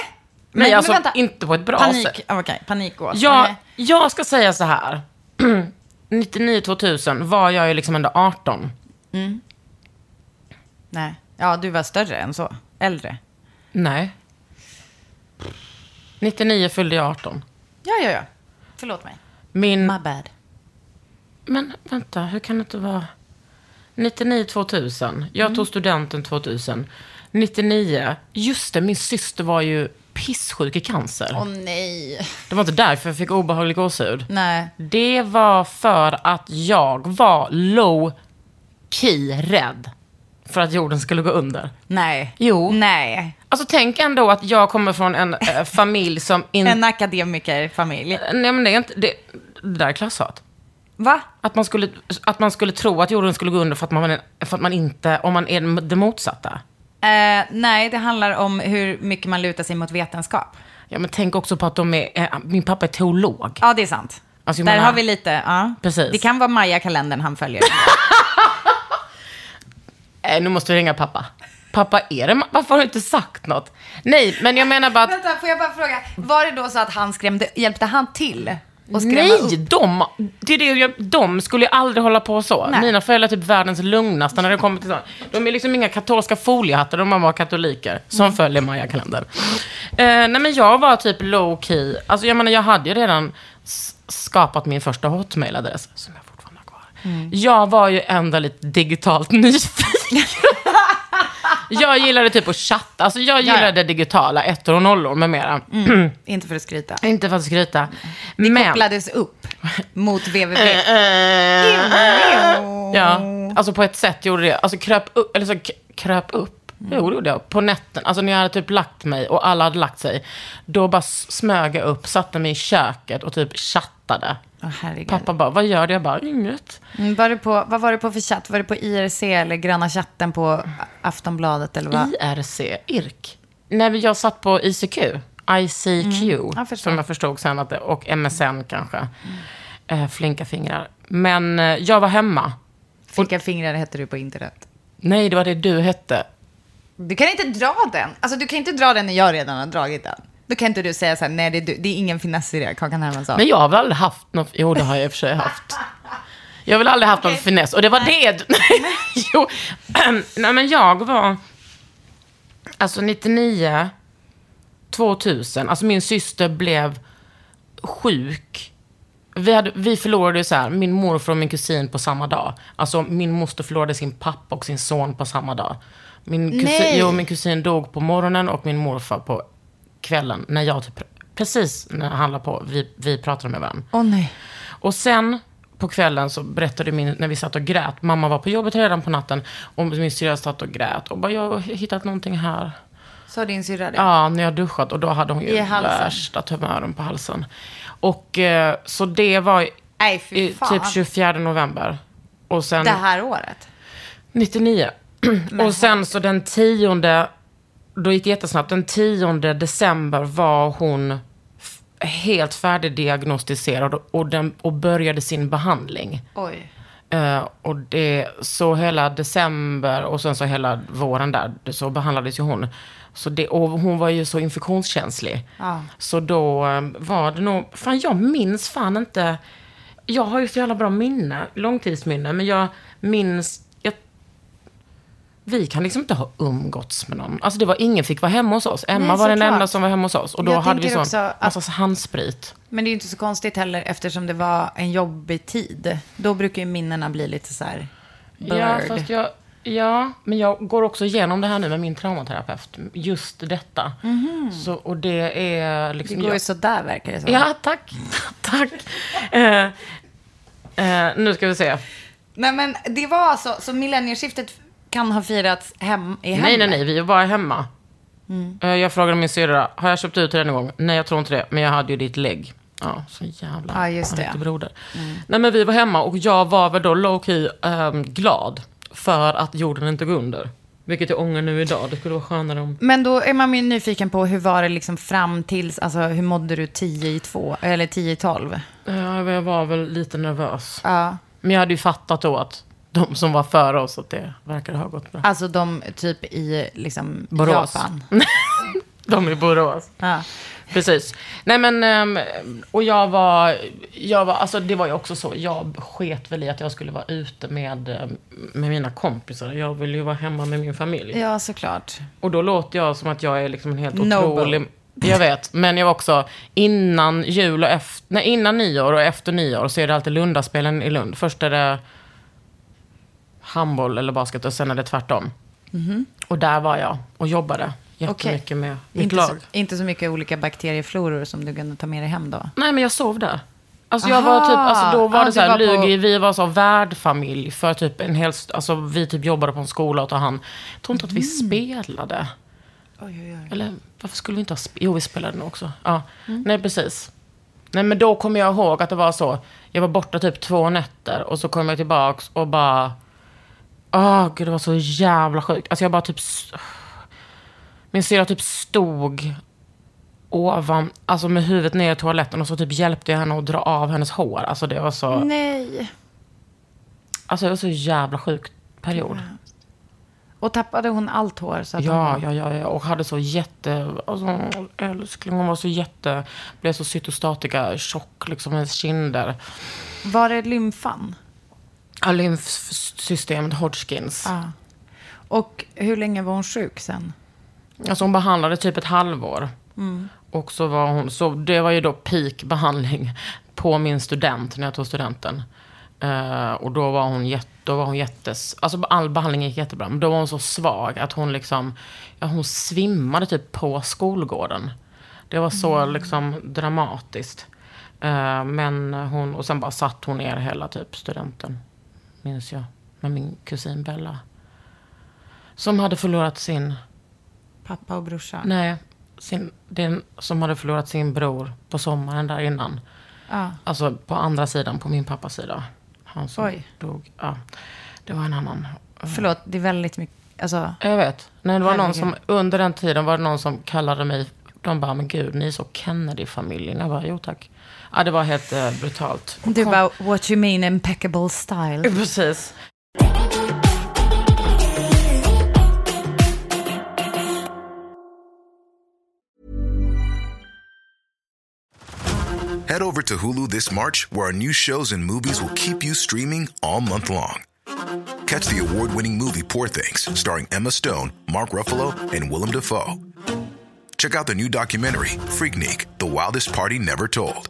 A: Nej, alltså inte på ett bra
B: panik.
A: sätt.
B: Okej, panikgås.
A: Jag,
B: Nej.
A: jag ska säga så här. *clears throat* 99-2000 var jag ju liksom ändå 18.
B: Nej. Ja, du var större än så. Äldre.
A: Nej. 99 fyllde jag 18.
B: Ja, ja, ja. Förlåt mig.
A: Min...
B: My bad.
A: Men vänta, hur kan det inte vara... 99 2000. Jag
B: Mm.
A: tog studenten 2000. 99. Just det, min syster var ju pissjuk i cancer.
B: Åh nej.
A: Det var inte därför jag fick obehaglig gåshud.
B: Nej.
A: Det var för att jag var low key rädd för att jorden skulle gå under.
B: Nej.
A: Jo.
B: Nej.
A: Alltså tänk ändå att jag kommer från en eh, familj som inte...
B: En akademikerfamilj.
A: Nej men det är inte... Det, det där är klasshat.
B: Va?
A: Att man, skulle, att man skulle tro att jorden skulle gå under för att man, för att man inte... Om man är det motsatta.
B: Eh, nej, det handlar om hur mycket man lutar sig mot vetenskap.
A: Ja men tänk också på att de är... eh, Min pappa är teolog.
B: Ja, det är sant.
A: Alltså, jag
B: Där
A: menar-
B: har vi lite, ja.
A: Precis.
B: Det kan vara Maya-kalendern han följer.
A: Eh, nu måste vi ringa pappa. Pappa, är det... ma- Varför har du inte sagt något? Nej, men jag menar bara att...
B: *laughs* Vänta, får jag bara fråga. Var det då så att han skrämde, hjälpte han till? Och skrämma
A: Nej,
B: upp?
A: de, det är det jag, de skulle ju aldrig hålla på så.
B: Nej.
A: Mina föräldrar är typ världens lugnaste när det kommer till sånt. De är liksom inga katolska foliehattar, de är bara katoliker som
B: Mm.
A: följer Maya-kalendern. Eh, nej men jag var typ low key. Alltså jag menar, jag hade ju redan s- skapat min första hotmail-adress som jag fortfarande har kvar.
B: Mm.
A: Jag var ju ändå lite digitalt *laughs* nyfiken. jag gillade typ att chatta. Alltså jag
B: ja. Mm.
A: gillade digitala ettor och nollor med mera.
B: Inte för att skryta.
A: Inte för att skryta. Men...
B: Kopplades upp mot VVV.
A: Eh.
B: Mm.
A: Ja, alltså på ett sätt gjorde det. Alltså kröp upp, eller så k- kröp upp.
B: Mm.
A: Jo, det gjorde jag. På natten, alltså när jag hade typ lagt mig och alla hade lagt sig, då bara s- smög jag upp, satte mig i köket och typ chattade.
B: Åh, herregud.
A: Pappa bara, vad gör du? Jag bara, inget.
B: Mm, Var det på, vad var det på för chatt? Var det på IRC eller Gröna chatten på Aftonbladet? Eller vad?
A: IRC, IRK. Nej, men jag satt på ICQ. ICQ,
B: Mm. jag förstår. Mm.
A: som jag förstod sen att det, och MSN kanske. Eh, flinka fingrar. Men eh, jag var hemma.
B: Flicka fingrar hette du på internet.
A: Nej, det var det du hette.
B: Du kan inte dra den. Alltså, du kan inte dra den när jag redan har dragit den. Då kan inte du säga så här, nej det är, du. Det är ingen finess i det, Kakan Hermansson.
A: Men jag har väl aldrig haft något... Jo, det har jag i och för sig haft. Jag har väl aldrig haft någon finess. Och det var det... *laughs* Nej, jo. *clears throat* Nej, men jag var... Alltså 99, 2000. Alltså min syster blev sjuk. Vi, hade, vi förlorade ju så här, min morfar och min kusin på samma dag. Alltså min moster förlorade sin pappa och sin son på samma dag. Min kusin,
B: Nej.
A: jo, min kusin dog på morgonen och min morfar på kvällen. När jag typ, precis när han la på, vi, vi pratade med varandra.
B: Åh nej.
A: Och sen på kvällen så berättade min, när vi satt och grät, mamma var på jobbet redan på natten och min syrra satt och grät och bara, jag har hittat någonting här.
B: Sa din syrra det?
A: Ja, när jag duschat och då hade hon
B: I
A: ju
B: halsen.
A: värsta tumören på halsen. Och eh, så det var
B: Nej,
A: i,
B: fy fan.
A: typ 24 november. Och sen
B: Det här året. *clears throat*
A: 99. och sen så den 10, då gick det jättesnabbt, den 10 december var hon f- helt färdigdiagnostiserad och, den, och började sin behandling.
B: Oj.
A: Eh, och det, så hela december och sen så hela våren där, det- så behandlades ju hon. Så det, och hon var ju så infektionskänslig.
B: Ja.
A: Så då eh, var det nog, fan jag minns fan inte, jag har ju så jävla bra minne, långtidsminne, men jag minns, jag, vi kan liksom inte ha umgåtts med någon. Alltså det var, ingen fick vara hemma hos oss. Emma
B: Nej,
A: var den
B: såklart.
A: enda som var hemma hos oss. Och då
B: Jag
A: hade vi
B: tänker
A: sån,
B: också att-
A: massa handsprit.
B: Men det är ju inte så konstigt heller eftersom det var en jobbig tid. Då brukar ju minnena bli lite så här blurred.
A: Ja, fast jag, ja, men jag går också igenom det här nu med min traumaterapeut. Just detta. Så, och det är
B: Mhm. Det
A: liksom...
B: går ju
A: jag,
B: sådär verkar det som.
A: ja, tack. *laughs* tack. Eh, eh, nu ska vi se.
B: Nej men det var alltså, så millennieskiftet kan ha firats hem, i hemmet?
A: Nej, nej, nej. Vi var bara hemma.
B: Mm.
A: Eh, Jag frågade min syrra, har jag köpt ut till dig någon gång? Nej, jag tror inte det. Men jag hade ju ditt lägg. Ja, så jävla
B: Ja, just det. Mm.
A: argt broder. Nej, men vi var hemma och jag var väl då low-key ehm, glad för att jorden inte går under. Vilket jag ångrar nu idag. Det skulle vara skönare om
B: Men då är man ju nyfiken på hur var det liksom fram tills, alltså hur mådde du 10 i 2, eller 10 i 12?
A: Ja, men Eh, jag var väl lite nervös.
B: Ja.
A: Men jag hade ju fattat då att de som var före oss, att det verkade ha gått bra.
B: Alltså de typ i liksom
A: Borås.
B: Japan.
A: *laughs* De i Borås.
B: Ja.
A: Precis. Nej men, ehm, och jag var, jag var, alltså det var ju också så, jag sket väl i att jag skulle vara ute med, ehm, med mina kompisar. Jag ville ju vara hemma med min familj.
B: ja, såklart.
A: Och då låter jag som att jag är liksom en helt
B: Noble.
A: otrolig... Jag vet, men jag var också innan jul och efter... Nej, innan nyår och efter nyår så är det alltid Lundaspelen i Lund. Först är det handboll eller basket och sen är det tvärtom. Och där var jag och jobbade jättemycket
B: Mhm. Okej.
A: med mitt
B: Inte så,
A: lag.
B: inte så mycket olika bakteriefloror som du kunde ta med dig hem då.
A: Nej, men jag sov där. Alltså jag
B: Aha.
A: var typ, alltså då var
B: Ja,
A: det
B: du
A: så här,
B: var på-
A: Lugi, vi var så värdfamilj för typ en hel, st- alltså vi typ jobbade på en skola och tog hand. Jag tror inte att vi
B: Mhm.
A: spelade. Eller varför skulle vi inte ha sp- Jo, vi spelade nog också. Ja. Nej, precis. Nej, men då kommer jag ihåg att det var så. Jag var borta typ två nätter och så kom jag tillbaks och bara... Åh, gud, det var så jävla sjukt. Alltså jag bara typ... s- Min syrra typ stod ovan, alltså med huvudet ner i toaletten och så typ hjälpte jag henne att dra av hennes hår. Alltså det var så...
B: Mm. Nej.
A: Alltså det var så jävla sjuk period.
B: Och tappade hon allt hår? Så att
A: Ja,
B: hon...
A: ja, ja, ja. Och hade så jätte... Alltså, älskling, hon var så jätte... Blev så cytostatika tjock, liksom hennes kinder.
B: Var det lymfan?
A: Ja, lymfsystemet, Hodgkins.
B: Ja. Och hur länge var hon sjuk sen?
A: Alltså hon behandlade typ ett halvår. Och så var hon... Så det var ju då peakbehandling på min student, när jag tog studenten. Eh, och då var hon jätte... Då var hon jättes... Alltså all behandling gick jättebra. Men då var hon så svag att hon liksom... Ja, hon svimmade typ på skolgården. Det var så liksom dramatiskt. Eh, men hon... Och sen bara satt hon ner hela typ studenten. Minns jag. Med min kusin Bella. Som hade förlorat sin,
B: Pappa och brorsa.
A: nej, sin, den som hade förlorat sin bror på sommaren där innan.
B: Ja.
A: Alltså på andra sidan, på min pappas sida. Han som
B: Oj.
A: dog. Ja, det var en annan.
B: Förlåt, det är väldigt mycket. Alltså,
A: Jag vet. Nej, det var någon
B: Herregud.
A: som, under den tiden var det någon som kallade mig, de bara, men gud, ni är så Kennedy-familjen. Jag bara, jo tack. Ja, det var helt eh,
B: *laughs*
A: brutalt.
B: du bara, what you mean impeccable style.
A: Precis.
C: Head over to Hulu this March, where our new shows and movies will keep you streaming all month long. Catch the award winning movie Poor Things, starring Emma Stone, Mark Ruffalo, and Willem Dafoe. Check out the new documentary, Freaknik The Wildest Party Never Told,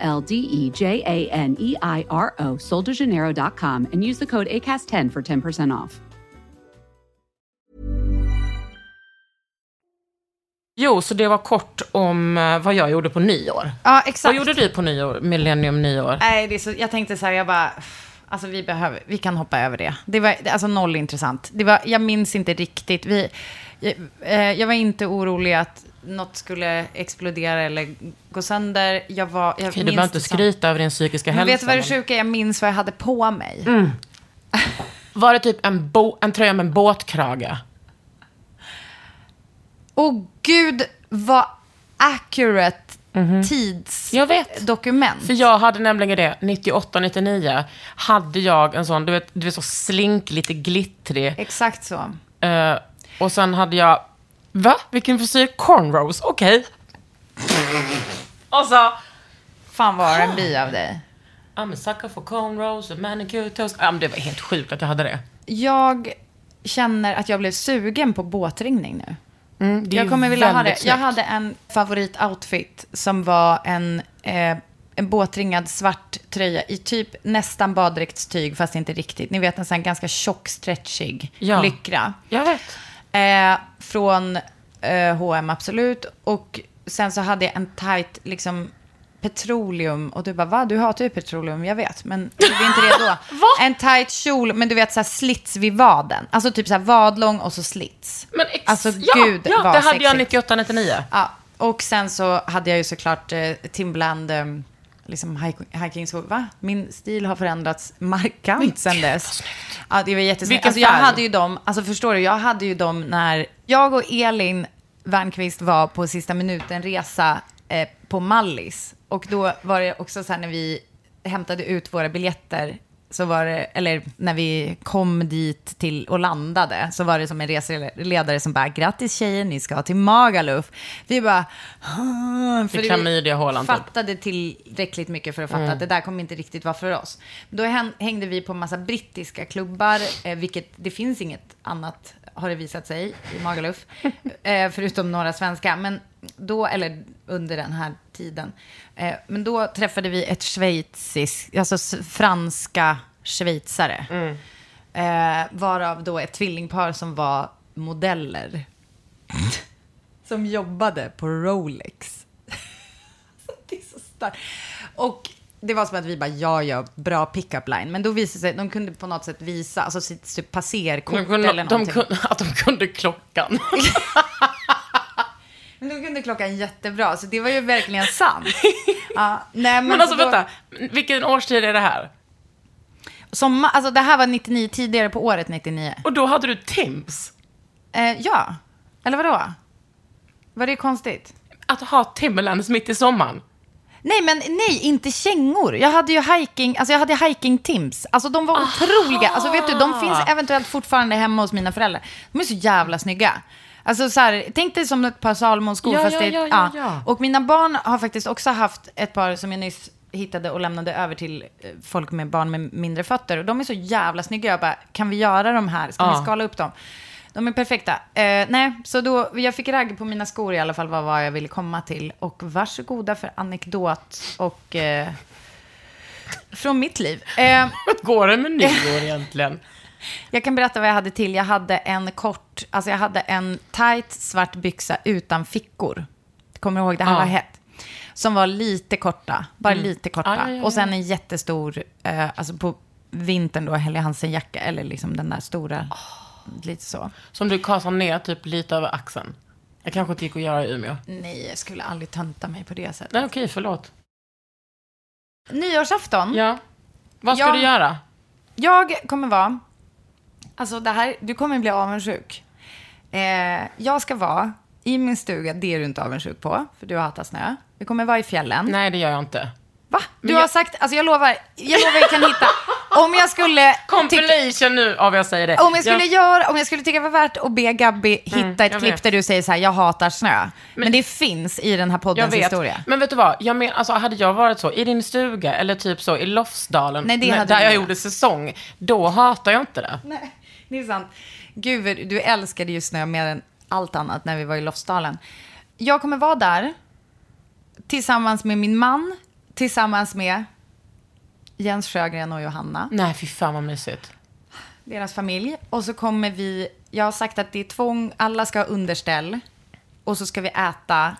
D: L D E J A N E I R O, soldejaneiro.com, and use the code ACAST10 for 10% off.
A: Jo, så det var kort om eh, vad jag gjorde på nyår.
B: Ja,
A: Vad
B: exakt. Äh,
A: gjorde du på nyår, millennium nyår?
B: Nej, det är så, jag tänkte så här, jag bara, alltså vi behöver, vi kan hoppa över det. Det var alltså noll intressant. Det var, jag minns inte riktigt. Vi, jag, eh, jag var inte orolig att något skulle explodera eller gå sönder. Jag var, jag
A: Okej, du
B: minns
A: behöver inte
B: det som-
A: skryta över din psykiska
B: Men
A: hälsa.
B: vet du vad det
A: men-
B: sjuka är? Jag minns vad jag hade på mig.
A: Var det typ en, bo- en tröja med en båtkrage?
B: Mm. Och gud vad accurate tidsdokument.
A: Mhm. Jag vet. För jag hade nämligen det, 98, 99, hade jag en sån, du vet, du vet så slink, lite glittrig.
B: Exakt så.
A: Eh, och sen hade jag, va? Vilken frisyr? Cornrows, okej. och så,
B: Fan var en bi av dig.
A: I'm a sucker for cornrows, a manicure, toast. Ja, men det var helt sjukt att jag hade det.
B: Jag känner att jag blev sugen på båtringning nu.
A: Mm, det är
B: jag
A: ju
B: kommer vilja ha
A: väldigt
B: det. Jag
A: snyggt.
B: hade en favoritoutfit som var en, eh, en båtringad svart tröja i typ nästan baddräktstyg, fast inte riktigt. Ni vet en sån här ganska tjock, stretchig
A: Ja.
B: lyckra.
A: Jag vet.
B: Eh, från eh, H&M absolut. Och sen så hade jag en tight, liksom, petroleum. Och du bara, va? Du hatar ju petroleum, jag vet. Men det är inte
A: *laughs*
B: det då. en tight kjol, men du vet så här slits vid vaden. Alltså typ så här vadlång och så slits.
A: Men ex-
B: alltså
A: ja,
B: gud
A: ja,
B: vad
A: det hade jag
B: sexigt.
A: 98, 99.
B: Ja, och sen så hade jag ju såklart eh, Timberland, eh, liksom hiking- hiking, va? Min stil har förändrats markant sen dess. Ja, det var jättesnyggt.
A: Vilken
B: Alltså, jag
A: färg.
B: hade ju dem, alltså förstår du, jag hade ju dem när jag och Elin Wernqvist var på sista minuten-resa eh, på Mallis. Och då var det också så här när vi hämtade ut våra biljetter, så var det, eller när vi kom dit till och landade, så var det som en reseledare som bara, grattis tjejer, ni ska till Magaluf. Vi bara, "Ah", för
A: Till klamydia Håland, typ.
B: fattade tillräckligt mycket för att fatta att det där kommer inte riktigt vara för oss. Då hän- hängde vi på massa brittiska klubbar, eh, vilket det finns inget annat, har det visat sig, i Magaluf, eh, förutom några svenska. Men då, eller under den här tiden, eh, men då träffade vi ett schweiziskt, alltså s- franska schweizare. Eh, varav då ett tvillingpar som var modeller. Som jobbade på Rolex. *laughs* Det är så starkt. Och det var som att vi bara, ja, ja, bra pickup line. Men då visade det sig, de kunde på något sätt visa, alltså sitt typ passerkort
A: De kunde,
B: eller
A: de
B: någonting.
A: kunde, att de kunde klockan.
B: Men de kunde klockan jättebra, så det var ju verkligen
A: *laughs*
B: sant. ja, nej, men
A: Men alltså
B: så då-
A: vänta, vilken årstid är det här?
B: Sommar, alltså det här var 99, tidigare på året 99.
A: Och då hade du Tims.
B: Eh, ja, eller vadå? Var det konstigt?
A: Att ha Timberlands mitt i sommaren.
B: Nej, men nej, inte kängor. Jag hade ju hiking, alltså jag hade hiking tims. Alltså de var otroliga. Alltså vet du, de finns eventuellt fortfarande hemma hos mina föräldrar. De är så jävla snygga. Alltså så här, tänk dig som ett par Salomonskor.
A: Ja,
B: fast
A: ja,
B: det är-
A: ja, ja, ja.
B: Och mina barn har faktiskt också haft ett par som jag nyss hittade och lämnade över till eh, folk med barn med mindre fötter. Och de är så jävla snygga. Jag bara, kan vi göra de här? Ska
A: Ja.
B: vi skala upp dem? De är perfekta. Eh, nej, så då, jag fick ragg på mina skor i alla fall, vad var jag ville komma till. Och varsågoda för anekdot och... Eh, från mitt liv. Eh,
A: Går det med nyår egentligen?
B: jag kan berätta vad jag hade till. Jag hade en kort, alltså jag hade en tight svart byxa utan fickor. Kommer du ihåg? Det här
A: Ja.
B: var hett. Som var lite korta, bara lite korta.
A: Ja, ja, ja,
B: Och sen en jättestor, eh, alltså på vintern då, Helly Hansen-jacka, eller liksom den där stora, lite så.
A: *laughs* Som du kasar ner typ lite över axeln. Det kanske inte gick att göra i Umeå.
B: Nej, jag skulle aldrig tönta mig på det sättet.
A: Nej, okej, förlåt.
B: Nyårsafton,
A: Mm. Ja. Vad ska
B: Ja.
A: du göra?
B: jag kommer vara, alltså det här, du kommer bli avundsjuk. Eh, jag ska vara i min stuga, det är du inte avundsjuk på, för du hatar snö. Vi kommer vara i fjällen.
A: Nej, det gör jag inte.
B: Va? Du
A: jag-
B: har sagt, alltså jag lovar, jag lovar jag kan hitta. Om jag
A: *laughs*
B: skulle... tycka-
A: Compilation nu av jag säger det.
B: Om jag skulle göra, om jag skulle tycka det var värt att be Gabby hitta ett
A: Mm, jag
B: klipp
A: vet.
B: där du säger så här, jag hatar snö. Men, det finns i den här
A: jag
B: poddens
A: vet.
B: historia.
A: Men vet du vad? Jag men, alltså, hade jag varit så i din stuga eller typ så i Lofsdalen,
B: Nej, det
A: när-
B: hade
A: där
B: du
A: jag
B: gjort.
A: gjorde säsong, då hatar jag inte det.
B: *laughs* Nej, det är sant. Gud, du älskade ju snö mer än allt annat när vi var i Lofsdalen. Jag kommer vara där tillsammans med min man, tillsammans med Jens Sjögren och Johanna.
A: Nej, fy fan vad mysigt.
B: deras familj. Och så kommer vi, jag har sagt att det är tvång, alla ska ha underställ. Och så ska vi äta,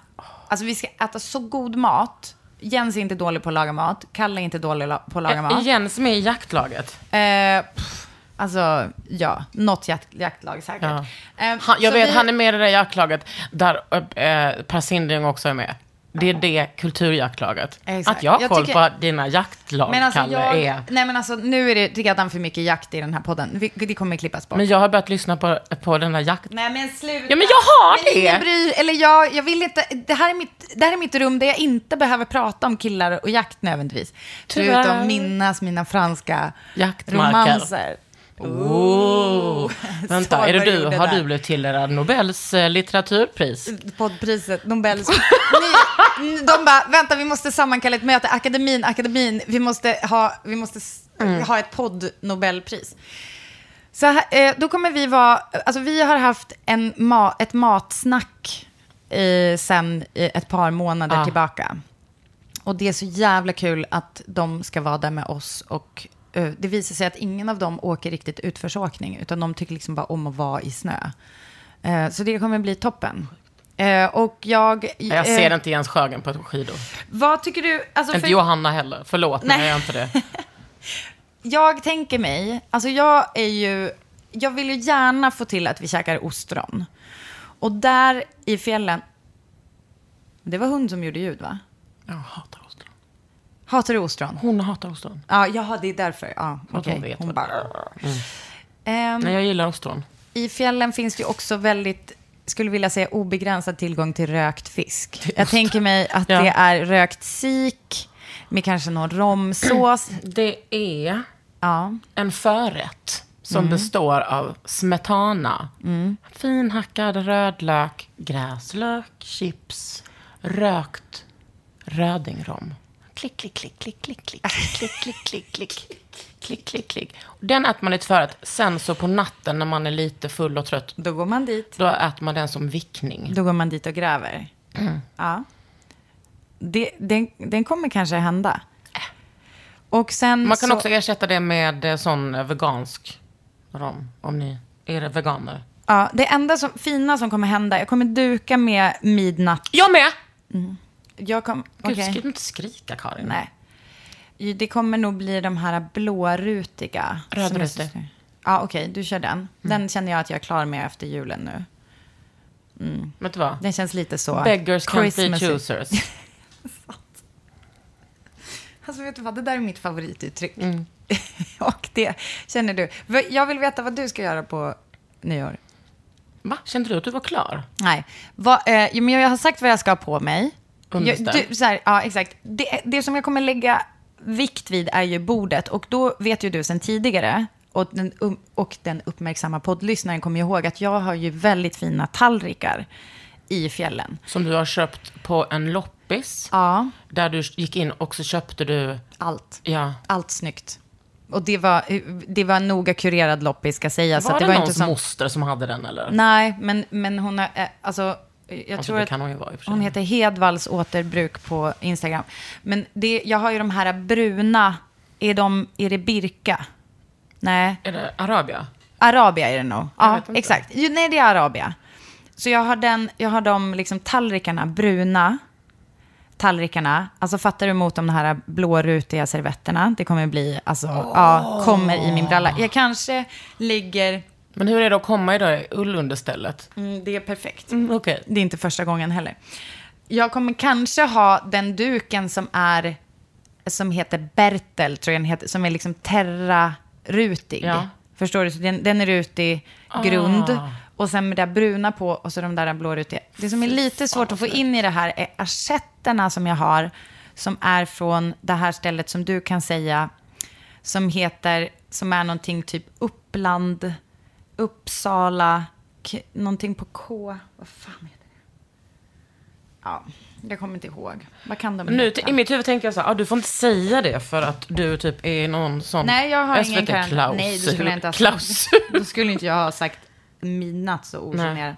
B: alltså vi ska äta så god mat. Jens är inte dålig på att laga mat, Kalle är inte dålig la- på att laga
A: Är
B: mat.
A: Jens med i jaktlaget?
B: Eh, pff, alltså, ja, något jakt, jaktlag säkert.
A: Ja.
B: Eh,
A: Han, jag
B: så
A: vet,
B: vi-
A: han är med i det där jaktlaget där eh, Per Sindring också är med. Det är det kulturjaktlaget.
B: Exakt.
A: Att jag har
B: Jag
A: koll
B: tycker-
A: på dina jaktlag,
B: men alltså,
A: Kalle,
B: jag,
A: är...
B: nej men alltså nu är det redan för mycket jakt i den här podden. Vi- Det kommer klippas bort.
A: Men jag har börjat lyssna på, på den där jakt...
B: Nej men sluta.
A: Ja, men jag har det.
B: ingen bryr, eller jag, jag vill inte, det här, är mitt, det här är mitt rum där jag inte behöver prata om killar och jakt nödvändigtvis.
A: Tyvärr.
B: Förutom minnas mina franska
A: Jaktmarker.
B: romanser. *laughs*
A: Oh. Vänta, är det du,
B: Salberg
A: har
B: gjorde
A: du
B: där.
A: blivit tilldelad Nobels eh, litteraturpris?
B: Poddpriset, Nobels... Ni, n- de bara, vänta vi måste sammankalla ett möte, akademin, akademin, vi måste ha, vi måste s- ha ett podd-nobelpris. Så här, eh, då kommer vi vara, alltså vi har haft en ma, ett matsnack eh, sen eh, ett par månader
A: Ah.
B: tillbaka. Och det är så jävla kul att de ska vara där med oss och eh, det visar sig att ingen av dem åker riktigt utförsåkning, utan de tycker liksom bara om att vara i snö. Eh, Så det kommer bli toppen. Eh, Och jag...
A: Jag ser
B: eh,
A: inte Jens Sjögren på skidor.
B: Vad tycker du? Alltså
A: Inte
B: för
A: Johanna heller. Förlåt, men
B: Nej.
A: jag gör inte det.
B: *laughs* jag tänker mig, alltså jag är ju, jag vill ju gärna få till att vi käkar ostron. Och där i fjällen, det var hon som gjorde ljud va?
A: Jag hatar ostron.
B: Hatar du ostron?
A: Hon hatar ostron.
B: Ja, jaha, det är därför. Ja,
A: att
B: okej.
A: hon vet
B: Hon
A: vad
B: bara... Ehm,
A: Nej, jag gillar ostron.
B: I fjällen finns det ju också väldigt, skulle vilja säga, obegränsad tillgång till rökt fisk. Jag tänker mig att
A: Ja.
B: det är rökt sik med kanske någon romsås.
A: Det är
B: Ja.
A: en förrätt som
B: Mm.
A: består av smetana, finhackad rödlök, gräslök, chips, rökt rödingrom. Klick, klick, klick, klick, klick, klick, klick, klick, klick, klick, klick, klick, klick. Den äter man i ett förrätt. Sen så på natten när man är lite full och trött,
B: Då går man dit.
A: då äter man den som vickning.
B: Då går man dit och gräver.
A: Mm.
B: Ja. Det, den, den kommer kanske hända. Och sen
A: Äh. Man kan
B: så,
A: också ersätta det med eh, sån eh, vegansk rom, om ni är veganer.
B: Ja, det enda som, fina som kommer hända, jag kommer duka med midnatt.
A: Jag med!
B: Jag kom,
A: Gud,
B: okej.
A: ska du inte skrika, Karin?
B: Nej. Det kommer nog bli de här blårutiga.
A: Rödrutig.
B: som jag syns nu. Ja, okej, du kör
A: Mm.
B: den. Den känner jag att jag är klar med efter julen nu.
A: Vet du vad?
B: Den känns lite så...
A: Beggars can't be
B: Christmassy.
A: choosers.
B: *laughs* Alltså vet du vad, det där är mitt favorituttryck. *laughs* Och det känner du. V- Jag vill veta vad du ska göra på nyår.
A: Va? Kände du att du var klar?
B: Nej, vad, eh, jo, men jag har sagt vad jag ska ha på mig. Jag,
A: Underställ.
B: du, så här, ja, exakt. Det, det som jag kommer lägga vikt vid är ju bordet. Och då vet ju du sen tidigare och den, um- och den uppmärksamma poddlyssnaren kommer ju ihåg att jag har ju väldigt fina tallrikar i fjällen.
A: Som du har köpt på en loppis.
B: Ja,
A: Där du gick in och så köpte du,
B: allt.
A: ja.
B: Allt snyggt. Och det var, eh, det var en noga kurerad loppis ska sägas.
A: Var
B: att
A: det,
B: det var
A: någons
B: inte som,
A: moster som hade den eller?
B: Nej, men, men hon har, eh, alltså, jag
A: alltså,
B: tror
A: det
B: att
A: kan hon ju vara i och för sig.
B: hon heter Hedvalls återbruk på Instagram. Men det, jag har ju de här bruna, är, de, är det Birka? Nej.
A: Är det Arabia?
B: Arabia är det nog. Ja,
A: vet inte.
B: exakt. Jo, nej, det är Arabia. Så jag har, den, jag har de liksom tallrikarna, bruna tallrikarna. Alltså fattar du mot de här blårutiga servetterna? Det kommer bli, alltså, ja, kommer i min bralla. Jag kanske ligger,
A: Men hur är det att komma idag i ullunderstället?
B: mm, det är perfekt.
A: Mm, Okej.
B: Det är inte första gången heller. Jag kommer kanske ha den duken som är, som heter Bertel, tror jag den heter, som är liksom terrarutig.
A: Ja.
B: Förstår du? Så den, den är rutig grund. Och sen med det där bruna på och så de där blårutiga. Det som är lite svårt att få in i det här är assietterna som jag har. Som är från det här stället som du kan säga. Som heter, som är någonting typ Uppland, Uppsala, K- någonting på K. Vad fan heter det? Ja, jag kommer inte ihåg. Vad kan de
A: Men Mm, Nu,
B: heta?
A: I mitt huvud tänker jag så här, ah, du får inte säga det för att du typ är någon sån
B: Nej, jag har ingen karantän.
A: SVT-klausul.
B: Nej, det skulle jag inte ha sagt.
A: *laughs* Klausul.
B: Då skulle inte jag ha sagt midnatt så ogenerat.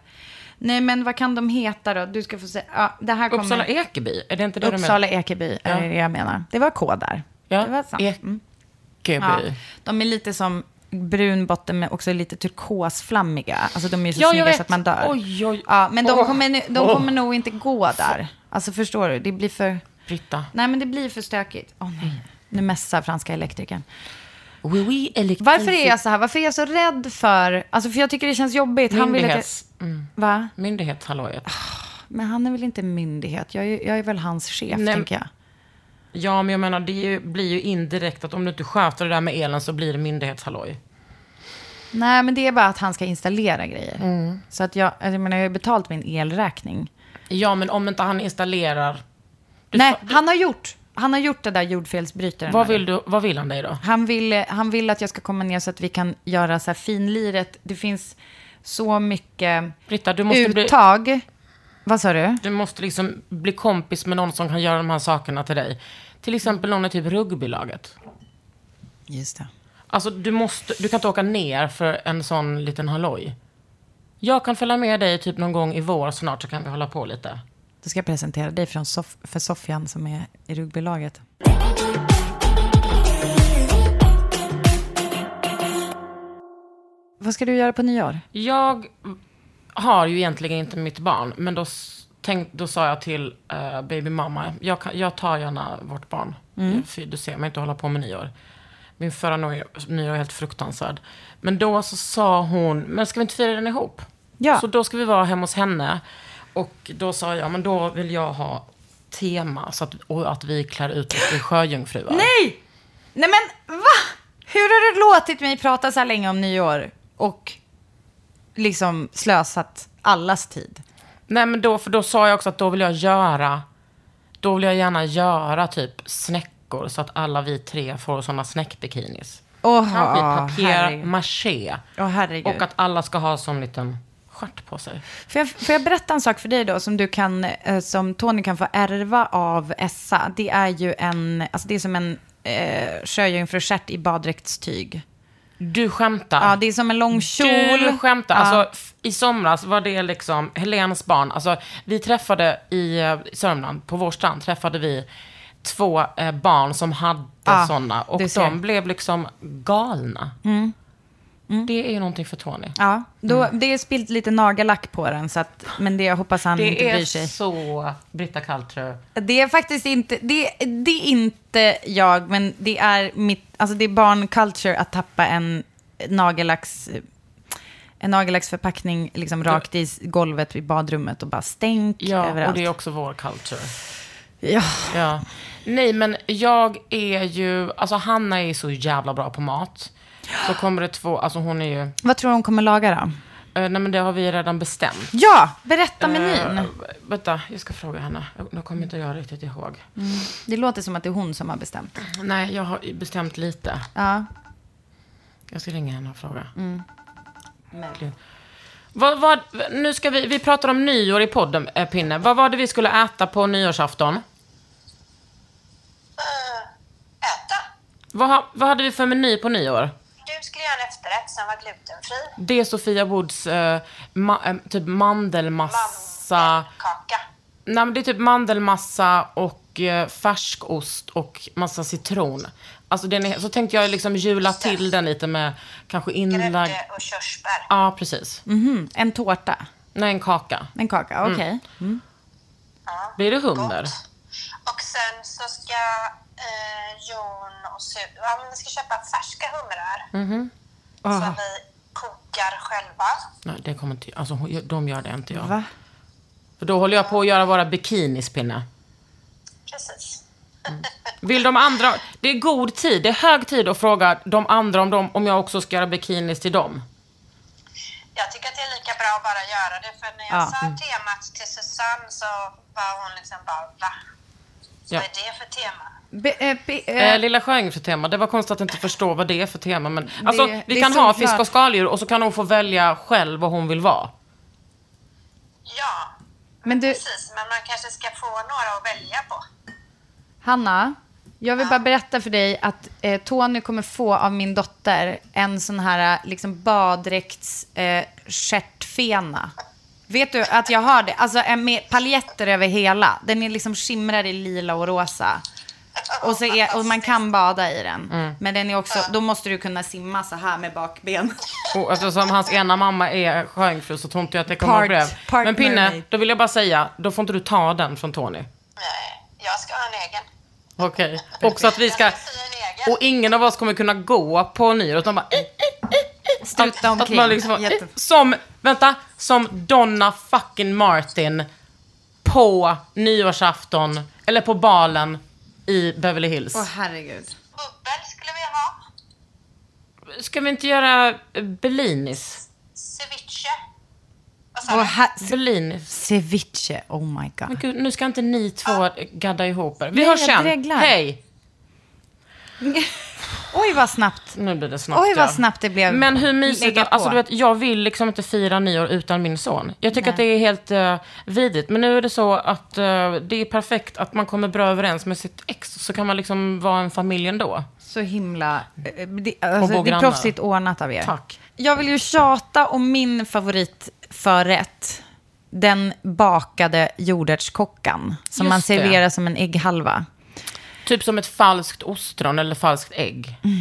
B: Nej, men vad kan de heta då? Du ska få säga. Ja, det här kommer...
A: Uppsala Ekeby, är det inte det du menar?
B: Uppsala Ekeby är det jag menar. Det var K där.
A: Ja,
B: det var sant. Mm. Ja,
A: Ekeby.
B: de är lite som brun botten men också lite turkosflammiga. Alltså de är ju så
A: Ja, jag
B: snygga
A: vet.
B: så att man dör.
A: Oj, oj.
B: Ja, men de
A: Åh.
B: kommer, nu- de kommer nog inte gå där. Alltså förstår du? Det blir för...
A: Britta.
B: Nej, men det blir för stökigt. Åh
A: Mm.
B: nej. Nu mässar franska elektrikern.
A: Oui, oui, elektrisk-
B: Varför är jag så här? Varför är jag så rädd för... Alltså för jag tycker det känns jobbigt. Han vill att jag...
A: Myndighets... Mm.
B: Va?
A: Myndighetshallojet.
B: Men han är väl inte myndighet? Jag är, jag är väl hans chef,
A: Nej,
B: tänker jag.
A: Ja, men jag menar, det är ju, blir ju indirekt att om du inte sköter det där med elen så blir det myndighetshalloj.
B: Nej, men det är bara att han ska installera grejer.
A: Mm.
B: Så att jag... Jag menar, jag har ju betalt min elräkning.
A: Ja, men om inte han installerar... Du
B: Nej,
A: fa-
B: han har gjort... Han har gjort det där jordfelsbrytaren.
A: vad, vill du, vad vill han dig då?
B: Han vill, han vill att jag ska komma ner så att vi kan göra så här finliret. Det finns så mycket
A: Britta, du måste bli...
B: uttag. Vad sa du?
A: Du måste liksom bli kompis med någon som kan göra de här sakerna till dig. Till exempel någon i typ rugbylaget.
B: Just det.
A: Alltså du, måste, du kan inte åka ner för en sån liten halloj. Jag kan följa med dig typ någon gång i vår snart så kan vi hålla på lite.
B: Då ska jag presentera dig från Sof- för Sofian som är i rugbylaget. Vad ska du göra på nyår?
A: Jag har ju egentligen inte mitt barn, men då, s- tänk, då sa jag till eh, baby mamma, jag, kan, jag tar gärna vårt barn. Fy, du ser mig inte hålla på med nyår. Min förra nyår, nyår är helt fruktansvärd. Men då så sa hon, men ska vi inte fira den ihop?
B: Ja.
A: Så då ska vi vara hemma hos henne. Och då sa jag, men då vill jag ha tema så att, och att vi klär ut oss till sjöjungfruar.
B: Nej! Nej men va? Hur har du låtit mig prata så här länge om nyår och liksom slösat allas tid?
A: Nej men då, för då sa jag också att då vill jag göra, då vill jag gärna göra typ snäckor så att alla vi tre får sådana snäckbikinis.
B: Åh,
A: Kanske i papier
B: herregud.
A: maché.
B: Åh, herregud.
A: Och att alla ska ha sån liten stjärt på sig.
B: Får jag, får jag berätta en sak för dig då som du kan, eh, som Tony kan få ärva av Essa? Det är ju en, alltså det är som en eh, sjöjungfrustjärt i baddräktstyg.
A: Du skämtar.
B: Ja, det är som en lång kjol.
A: Du skämtar.
B: Ja.
A: Alltså, f- I somras var det liksom Helens barn. Alltså, vi träffade i eh, Sörmland, på vår strand, träffade vi två eh, barn som hade
B: Ja,
A: sådana. Och
B: du ser.
A: de blev liksom galna. Det är ju någonting för Tony.
B: Ja, då,
A: Mm.
B: det är spilt lite nagellack på den, så att, men det jag hoppas han inte
A: Det
B: bryr
A: är
B: sig.
A: så Britta Kaltrö.
B: Det är faktiskt inte, det, det är inte jag, men det är mitt, alltså det är barn culture att tappa en nagellax, en nagellacksförpackning liksom rakt i golvet i badrummet och bara stänk
A: Ja,
B: överallt.
A: och det är också vår culture.
B: Ja.
A: Ja. Nej, men jag är ju... Alltså Hanna är så jävla bra på mat. Så kommer det två... Alltså hon är ju...
B: Vad tror du hon kommer laga då?
A: eh, nej, men det har vi redan bestämt.
B: Ja, berätta menyn.
A: Eh, vänta, jag ska fråga henne. Nu kommer inte jag riktigt ihåg.
B: Det låter som att det är hon som har bestämt.
A: Nej, jag har bestämt lite.
B: Ja.
A: Jag ska ringa henne och fråga. Verkligen. Vad, vad, nu ska vi, vi pratar om nyår i podden, eh, Pinne. Vad var det vi skulle äta på nyårsafton?
E: Eh, äta.
A: Vad, ha- vad hade vi för meny på nyår?
E: Du skulle göra en efterrätt som var glutenfri.
A: Det är Sofia Woods eh, ma- eh, typ mandelmassa.
E: Kaka.
A: Nej, men det är typ mandelmassa och eh, färskost och massa citron. Alltså den är, så tänkte jag liksom jula till den lite med kanske inlagd...
E: Grädde och körsbär.
A: Ja, precis.
B: Mhm, En tårta,
A: Nej, en kaka.
B: en kaka,
A: Mm.
B: okej.
E: Ja,
A: Blir det hunder?
E: gott. Och sen så ska eh, Jon och Su... Ja, men vi ska köpa färska humrar.
A: Mhm.
E: Som
A: Ah.
B: Åh,
E: vi kokar själva.
A: Nej, det kommer inte... Alltså hon- de gör det inte jag.
B: va?
A: För då håller jag på att göra våra bikinis, Pinne.
E: Precis.
A: Mm. Vill de andra... Det är god tid. Det är hög tid att fråga de andra om, de, om jag också ska göra bikinis till dem.
E: *laughs* Jag tycker att det är lika bra att bara göra det. För när jag
B: Ja.
E: sa temat till Susanne så var hon liksom bara va?
A: Ja.
E: Vad är det för tema?
B: Be, eh, be, eh,
A: Eh, Lilla Sjöjungfrutema, det var konstigt att inte förstå vad det är för tema. Men, alltså,
B: det
A: vi
B: är
A: kan ha
B: solklart.
A: fisk och skaldjur och så kan hon få välja själv vad hon vill vara.
E: Ja,
B: men du,
E: precis. Men man kanske ska få några att välja på.
B: Hanna, jag vill bara berätta för dig att eh, Tony kommer få av min dotter en sån här eh, liksom baddräkts eh, stjärtfena. Vet du att jag har det? Alltså en med paljetter över hela. Den är liksom skimrar i lila och rosa. Och, så är, och man kan bada i den.
A: Mm.
B: Men den är också, då måste du kunna simma så här med bakben.
A: Och eftersom hans ena mamma är sjöjungfru så tror inte jag att det kommer
B: Part-
A: att brev.
B: part
A: Men Pinne,
B: mermaid.
A: då vill jag bara säga, då får inte du ta den från Tony.
E: Nej, jag ska ha en egen.
A: Okej. Och så att vi ska...
E: Jag ska sy en egen.
A: Och ingen av oss kommer kunna gå på nyår utan bara... eh,
B: Struta
A: Att
B: omkring.
A: man liksom,
B: Jätte-
A: som, vänta, som Donna fucking Martin på nyårsafton, eller på balen i Beverly Hills.
B: Åh herregud.
E: Bubbel skulle vi ha.
A: Ska vi inte göra Bellinis?
E: Ceviche. Vad sa
B: Åh
E: du?
B: her-
A: Bellinis.
B: Ceviche, oh my
A: *laughs*
B: god.
A: Gud, nu ska inte ni två gadda ihop er. Vi
B: Nej,
A: hörs
B: jag
A: sen.
B: dreglar.
A: Hej!
B: Oj vad snabbt.
A: Nu blir det snabbt.
B: Oj vad
A: ja.
B: snabbt det blev.
A: Men hur mysigt,
B: Lägga
A: att- alltså
B: på.
A: du vet, jag vill liksom inte fira nyår utan min son. Jag tycker
B: Nej.
A: att det är helt uh, vidrigt. Men nu är det så att eh, det är perfekt att man kommer bra överens med sitt ex. Så kan man liksom vara en familj ändå.
B: Så himla... eh, Det, alltså,
A: bo
B: det är
A: grannar.
B: proffsigt ordnat av er.
A: Tack.
B: Jag vill ju tjata om min favoritförrätt. Den bakade jordärtskockan. Som
A: Just
B: man serverar
A: det.
B: som en ägghalva.
A: Typ som ett falskt ostron eller falskt ägg.
B: Mm.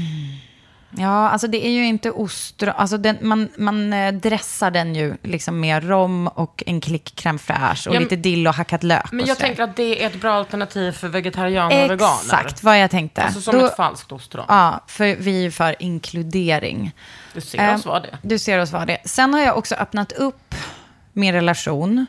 B: Ja, alltså det är ju inte ostron. Alltså den, man, man eh, dressar den ju liksom med rom och en klick crème fraîche och
A: Ja, men-
B: lite dill och hackad lök.
A: Men
B: och
A: jag
B: sådär.
A: tänker att det är ett bra alternativ för vegetarianer och veganer.
B: Exakt vad jag tänkte.
A: Alltså som
B: Då-
A: ett falskt ostron.
B: Ja, för vi är ju för inkludering.
A: Du ser oss
B: Eh,
A: vara det.
B: Du ser oss vara det. Sen har jag också öppnat upp min relation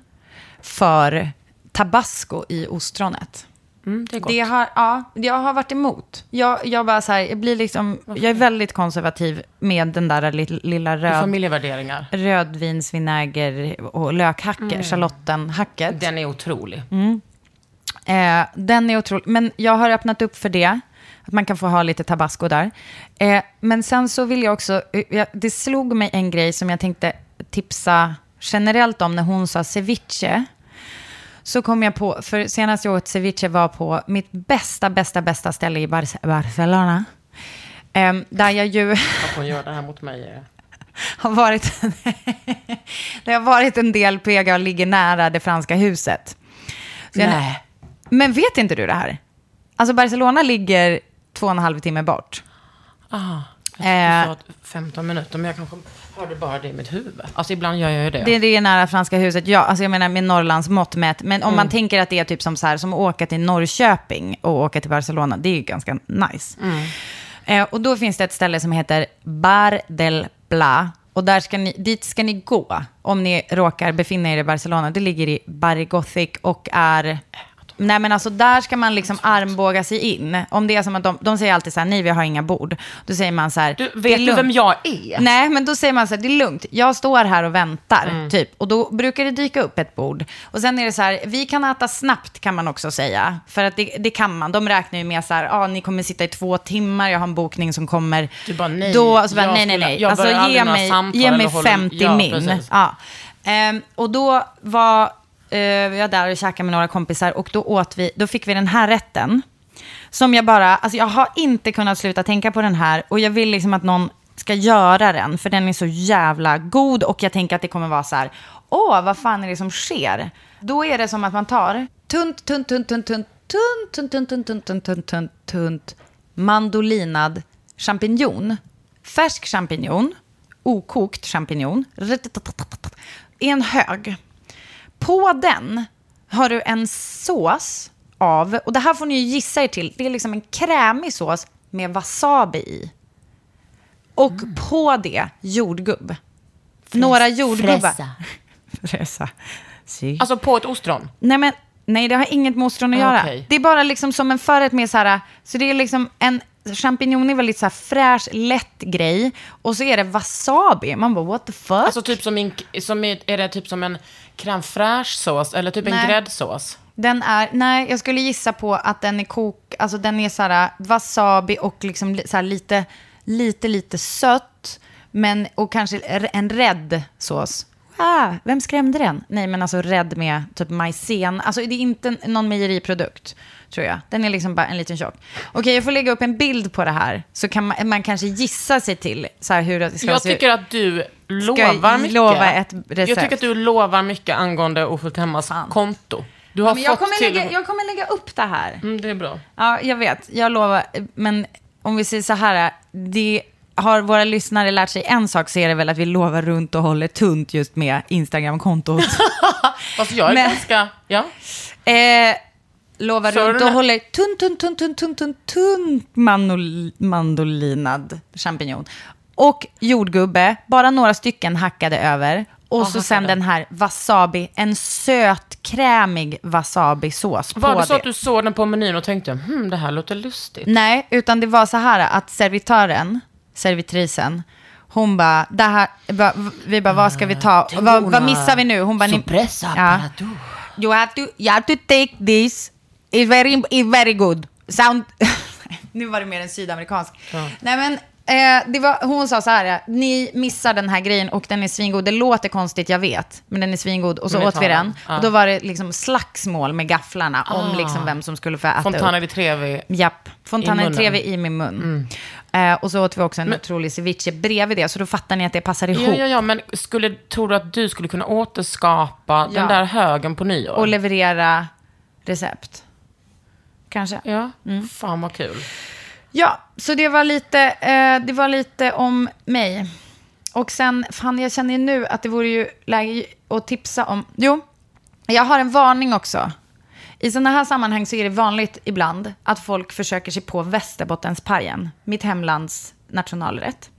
B: för tabasco i ostronet.
A: Mm, det är gott.
B: Det har, ja, jag har varit emot. Jag, jag, bara så här, jag, blir liksom, jag är väldigt konservativ med den där li- lilla
A: Det är
B: röd,
A: familjevärderingar.
B: rödvinsvinäger och lökhacker, schalottenhacket.
A: Den är otrolig.
B: Mm. Eh, den är otrolig. Men jag har öppnat upp för det. Att man kan få ha lite tabasco där. Eh, men sen så vill jag också... eh, Jag, det slog mig en grej som jag tänkte tipsa generellt om när hon sa ceviche. Så kom jag på, för senast jag åt ceviche var på mitt bästa, bästa, bästa ställe i Bar- Barcelona. Ehm, där jag ju... *laughs*
A: Att hon gör det här mot mig. eh.
B: har varit, *laughs* det har varit en del PGA och ligger nära det franska huset. Så jag-
A: Nej.
B: Men vet inte du det här? Alltså Barcelona ligger två och en halv timme bort.
A: Ah,
B: Eh.
A: jag tyckte du sa att 15 minuter, men jag kanske hörde bara det i mitt huvud. Alltså ibland gör jag ju det.
B: Det ligger nära franska huset, ja, alltså jag menar med Norrlands mått mätt. Men om
A: Mm.
B: man tänker att det är typ som så här, som att åka till Norrköping och åka till Barcelona, det är ju ganska nice.
A: Mm.
B: Eh, och då finns det ett ställe som heter Bar del Pla. Och där ska ni, dit ska ni gå om ni råkar befinna er i Barcelona. Det ligger i Barri Gothic och är
A: Att
B: Nej men alltså där ska man liksom armbåga sig in. Om det är som att de, de säger alltid så här, nej vi har inga bord. Då säger man så här,
A: Du,
B: "Det är
A: vet du
B: lugnt."
A: vem jag är?
B: Nej, men då säger man så här, det är lugnt, jag står här och väntar,
A: Mm.
B: typ. Och då brukar det dyka upp ett bord. Och sen är det så här, vi kan äta snabbt kan man också säga. För att det, det kan man, de räknar ju med så här, ah, ni kommer sitta i två timmar, jag har en bokning som kommer.
A: Du bara, nej,
B: Då, så bara,
A: jag
B: nej, nej,
A: skulle-
B: nej.
A: jag
B: Alltså
A: börjar aldrig
B: ge
A: några
B: mig,
A: samtal
B: ge
A: eller
B: mig
A: håller-
B: 50
A: Ja,
B: min.
A: precis.
B: Ja. Ehm, och då var eh, jag där och käkade med några kompisar och då, åt vi, då fick vi den här rätten. Som jag bara, alltså jag har inte kunnat sluta tänka på den här och jag vill liksom att någon ska göra den för den är så jävla god och jag tänker att det kommer vara så här, åh vad fan är det som sker? Då är det som att man tar tunt, tunt, tunt, tunt, tunt, tunt, tunt, tunt, tunt, tunt, tunt, tunt, tunt, mandolinad champinjon, färsk champinjon, okokt champinjon, i en hög. På den har du en sås av, och det här får ni ju gissa er till, det är liksom en krämig sås med wasabi i. Och på det jordgubb. Några jordgubbar.
A: fräsa.
B: *laughs* Fräsa. Si.
A: Alltså på ett ostron?
B: Nej, men, nej, det har inget med ostron att göra.
A: Ah, Okej.
B: Det är bara liksom som en förrätt med så här, så det är liksom en, champinjon är väldigt så här fräsch, lätt grej. Och så är det wasabi. Man bara, what the fuck?
A: Alltså typ som, en, som är, är det typ som en crème fraîche sås eller typ
B: Nej.
A: en gräddsås?
B: Den är, nej, jag skulle gissa på att den är kok, alltså den är så här wasabi och liksom li- så här lite, lite, lite sött. Men, och kanske r- en rädd sås. Ah, vem skrämde den? Nej, men alltså rädd med typ majsen. Alltså det är inte en- någon mejeriprodukt, tror jag. Den är liksom bara en liten tjock. Okej, jag får lägga upp en bild på det här. Så kan man, man kanske gissa sig till så här hur det ska
A: Jag
B: se ut.
A: tycker att du
B: jag
A: lovar mycket.
B: lova ett recept?
A: Jag tycker att du lovar mycket angående Oskuld Hemmas
B: Fan.
A: konto. Du har
B: Men jag,
A: fått
B: kommer
A: till...
B: lägga, jag kommer lägga upp det här.
A: Mm, det är bra.
B: Ja, jag vet. Jag lovar. Men om vi säger så här, det har våra lyssnare lärt sig en sak så är det väl att vi lovar runt och håller tunt just med
A: *laughs*
B: Instagram-kontot.
A: Fast jag är
B: Men-
A: ganska... Ja.
B: eh, lovar
A: Så
B: runt
A: den
B: och
A: här-
B: håller tunt, tunt, tunt, tunt, tunt, tunt, tunt manol, mandolinad champinjon. Och jordgubbe, bara några stycken hackade över. Och så
A: hackade.
B: sen den här wasabi, en söt krämig wasabi-sås
A: Var
B: på
A: det så
B: det.
A: att du såg den på menyn och tänkte hmm, det här låter lustigt?
B: Nej, utan det var så här att servitören, servitrisen, hon bara, det här, va, vi bara, vad ska vi
A: Ah,
B: ta? Vad, vad missar vi nu? Hon bara, ni- ja. You have to, you have to take this, it's very, it's very good. Sound... *laughs* nu var det mer en sydamerikansk. Nej men, eh, det var, hon sa så här, ja, ni missar den här grejen och den är svingod. Det låter konstigt, jag vet, men den är svingod. Och så
A: Men vi
B: åt vi
A: tar
B: den.
A: den. Ja.
B: Och då var det liksom slagsmål med gafflarna om
A: Ah.
B: liksom vem som skulle få äta upp.
A: Fontana di Trevi.
B: Japp,
A: I
B: Fontana
A: munnen. Mm.
B: Trevi i min mun. Eh, och så åt vi också en otrolig ceviche bredvid det, så då fattar ni att det passar ihop.
A: Ja, ja, ja, men skulle, tror du att du skulle kunna återskapa
B: Ja.
A: den där högen på nyår?
B: Och leverera recept. Kanske.
A: ja,
B: Mm.
A: fan vad kul.
B: Ja, så det var lite, eh, det var lite om mig. Och sen, fan jag känner ju nu att det vore ju läge att tipsa om... Jo, jag har en varning också. I sådana här sammanhang så är det vanligt ibland att folk försöker sig på Västerbottenpajen, mitt hemlands nationalrätt.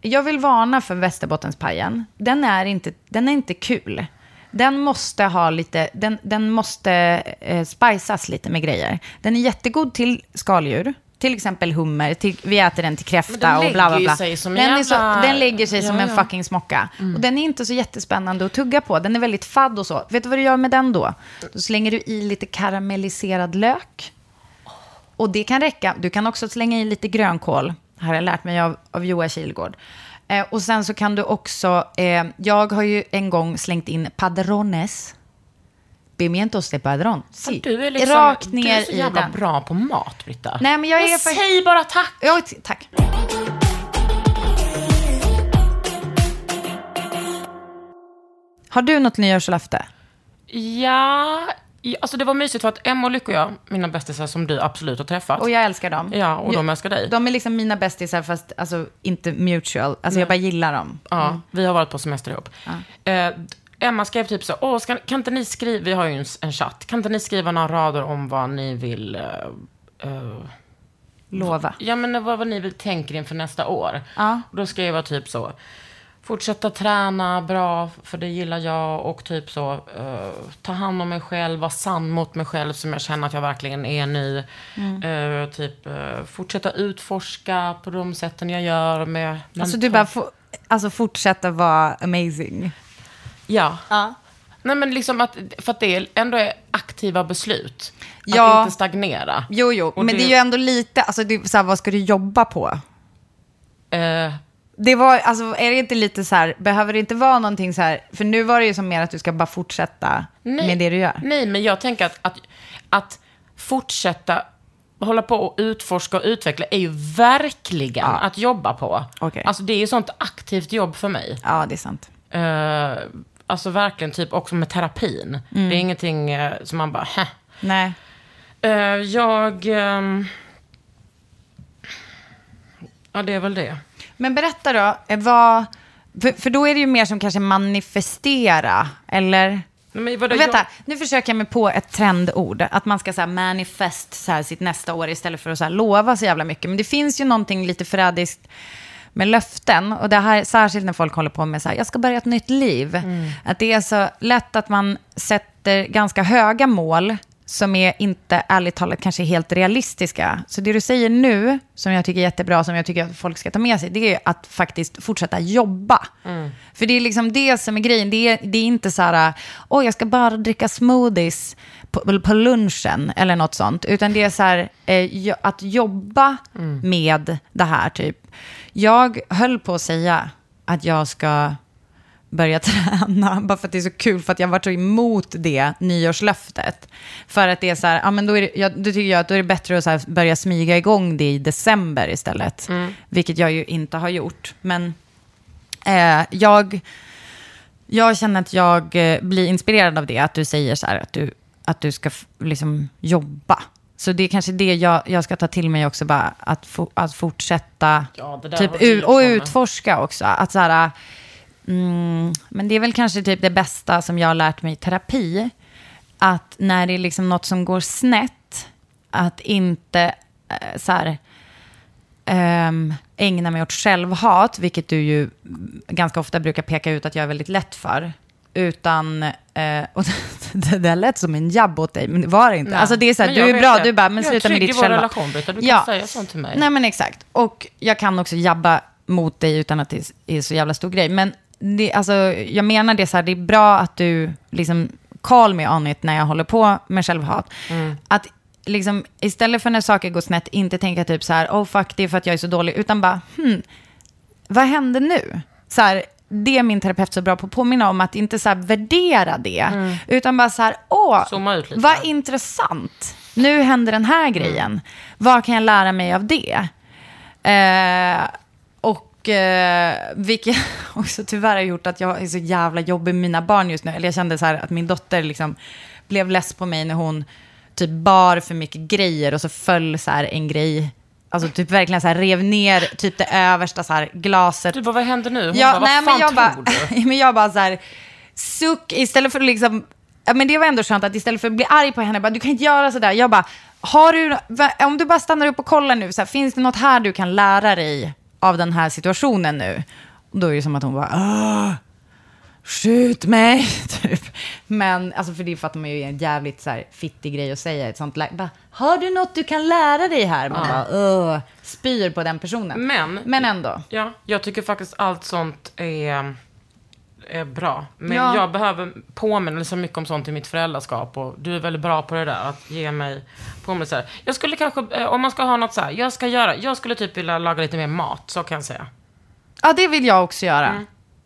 B: Jag vill varna för Västerbottenpajen. Den är inte, den är inte kul. Den måste ha lite, den, den måste eh, spicas lite med grejer. Den är jättegod till skaldjur. Till exempel hummer, till, vi äter den till kräfta
A: Men den
B: och bla bla
A: lägger ju
B: bla.
A: sig som
B: den, är
A: jävla-
B: så, den lägger sig
A: Ja,
B: som en
A: ja. Mm.
B: fucking fucking smocka. Och den är inte så jättespännande att tugga på. Den är väldigt fadd och så. Vet du vad du gör med den då? Då slänger du i lite karamelliserad lök. Och det kan räcka. Du kan också slänga i lite grönkål. Det här har jag lärt mig av, av Joa Kilgård. Eh, och sen så kan du också... Eh, jag har ju en gång slängt in padrones. Pimientos de padron. Si.
A: Du är liksom,
B: Rakt
A: du
B: ner
A: är så jävla
B: i den.
A: bra på mat, Britta.
B: Nej, men jag är för-
A: Säg bara tack!
B: Ja, t- tack. Har du något nyårslöfte?
A: Ja, ja, alltså det var mysigt för att Emma och Lycka och jag, mina bästisar som du absolut har träffat.
B: Och jag älskar dem.
A: Ja, och de älskar dig.
B: De är liksom mina bästisar, fast alltså, inte mutual. Alltså, Jag bara gillar dem.
A: Ja, vi har varit på semester ihop. Eh, Emma skrev typ så här, Åh, ska, kan inte ni skriva, vi har ju en, s- en chatt, kan inte ni skriva några rader om vad ni vill, eh, eh,
B: Lova.
A: ja men vad, vad ni vill tänker inför nästa år?
B: Ja.
A: Och då skrev jag typ så, Fortsätta träna bra, för det gillar jag. Och typ så, eh, ta hand om mig själv, vara sann mot mig själv som jag känner att jag verkligen är nu.
B: Mm.
A: Eh, typ, eh, fortsätta utforska på de sätten jag gör. Med, men-
B: Alltså du bara, få, alltså fortsätta vara amazing.
A: Ja.
B: Ja.
A: Nej men liksom att, för att det är- ändå är aktiva beslut.
B: Ja.
A: Att inte stagnera.
B: Jo, jo,
A: Och
B: men det är ju ändå lite, alltså det, är så här, vad ska du jobba på?
A: eh,
B: Det var, alltså är det inte lite så här, behöver det inte vara någonting så här, för nu var det ju som mer att du ska bara fortsätta
A: Nej.
B: med det du gör.
A: Nej, men jag tänker att, att, att fortsätta hålla på och utforska och utveckla är ju verkligen att jobba på.
B: Okej.
A: Alltså det är ju sånt aktivt jobb för mig.
B: Ja, det är sant.
A: Eh, alltså verkligen typ också med terapin.
B: Mm.
A: Det är ingenting eh, som man bara, "Hä."
B: Nej.
A: Eh, jag... ehm, ja, det är väl det.
B: Men berätta då, eh, vad, för, för då är det ju mer som kanske manifestera, eller?
A: Nej, Men vadå,
B: Vänta,
A: jag-
B: nu försöker jag mig på ett trendord. Att man ska så här manifest så här sitt nästa år istället för att så här lova så jävla mycket. Men det finns ju någonting lite förrädiskt med löften. Och det här, särskilt när folk håller på med så här, jag ska börja ett nytt liv.
A: Mm.
B: Att det är så lätt att man sätter ganska höga mål som är inte, ärligt talat, kanske helt realistiska. Så det du säger nu, som jag tycker är jättebra, som jag tycker att folk ska ta med sig, det är ju att faktiskt fortsätta jobba. För det är liksom det som är grejen. Det är, det är inte så här, åh, jag ska bara dricka smoothies på, på lunchen eller något sånt. Utan det är så här, eh, jo- att jobba med det här typ. Jag höll på att säga att jag ska börja *laughs* träna, bara för att det är så kul, för att jag varit så emot det nyårslöftet. För att det är så här, ja men då, är det, ja, då tycker jag att då är det bättre att så här börja smyga igång det i december istället. Vilket jag ju inte har gjort. Men eh, jag, jag känner att jag eh, blir inspirerad av det, att du säger så här, att du, att du ska f- liksom jobba. Så det är kanske det jag, jag ska ta till mig också, bara att, fo- att fortsätta
A: Ja, det där
B: typ,
A: var vi
B: u- och
A: liksom-
B: utforska också. Att så här, mm, men det är väl kanske typ det bästa som jag har lärt mig i terapi. Att när det är liksom något som går snett, att inte eh, så här, ehm, ägna mig åt självhat, vilket du ju mm, ganska ofta brukar peka ut att jag är väldigt lätt för. Utan, eh, *laughs* och det där lät som en jabb åt dig, men det var det inte.
A: Nej.
B: Alltså det är så här,
A: Men
B: du
A: jag
B: är
A: vet
B: bra,
A: det.
B: du bara, men
A: Jag är
B: sluta med
A: trygg i
B: ditt
A: vår
B: själva.
A: relation, Britta. Du kan säga sånt till mig.
B: Nej men exakt. Och jag kan också jabba mot dig utan att det är så jävla stor grej. Men det, alltså, jag menar det så här, det är bra att du liksom call me on it när jag håller på med självhat.
A: Mm.
B: Att liksom, istället för när saker går snett, inte tänka typ så här, oh fuck, det är för att jag är så dålig, utan bara, hmm, vad hände nu? Så här, det är min terapeut så bra på att påminna om, att inte så här värdera det, utan bara så här, åh,
A: Mm. Zooma ut lite.
B: vad intressant. Nu händer den här grejen. Vad kan jag lära mig av det? Eh, och eh, vilket *laughs* också tyvärr har gjort att jag är så jävla jobbig med mina barn just nu. Eller jag kände så här att min dotter liksom blev less på mig när hon typ bar för mycket grejer och så föll så här en grej. Alltså typ verkligen så här rev ner typ det översta så här glaset
A: Du bara, vad händer nu? Hon
B: ja,
A: bara, vad
B: nej,
A: fan
B: men jag
A: tror
B: bara,
A: du?
B: *laughs* men jag bara så här, suck, istället för att liksom, ja, men det var ändå skönt att istället för att bli arg på henne, bara, du kan inte göra sådär. Jag bara, har du, va- om du bara stannar upp och kollar nu, så här, finns det något här du kan lära dig av den här situationen nu? Och då är det som att hon bara, "Ah, skjut mig, *laughs* typ. Men, alltså för det fattar man ju är en jävligt så här, fittig grej att säga i ett sånt läge. Bara, Har du något du kan lära dig här? Man bara, "Ugh", spyr på den personen.
A: Men-
B: men ändå.
A: Ja, jag tycker faktiskt allt sånt är, är bra. Men
B: Ja.
A: jag behöver påminnelser mycket om sånt i mitt föräldraskap. Och du är väldigt bra på det där, att ge mig påminnelser. Jag skulle kanske, eh, om man ska ha något så här, jag ska göra, jag skulle typ vilja laga lite mer mat, så kan jag säga.
B: Ja, det vill jag också göra.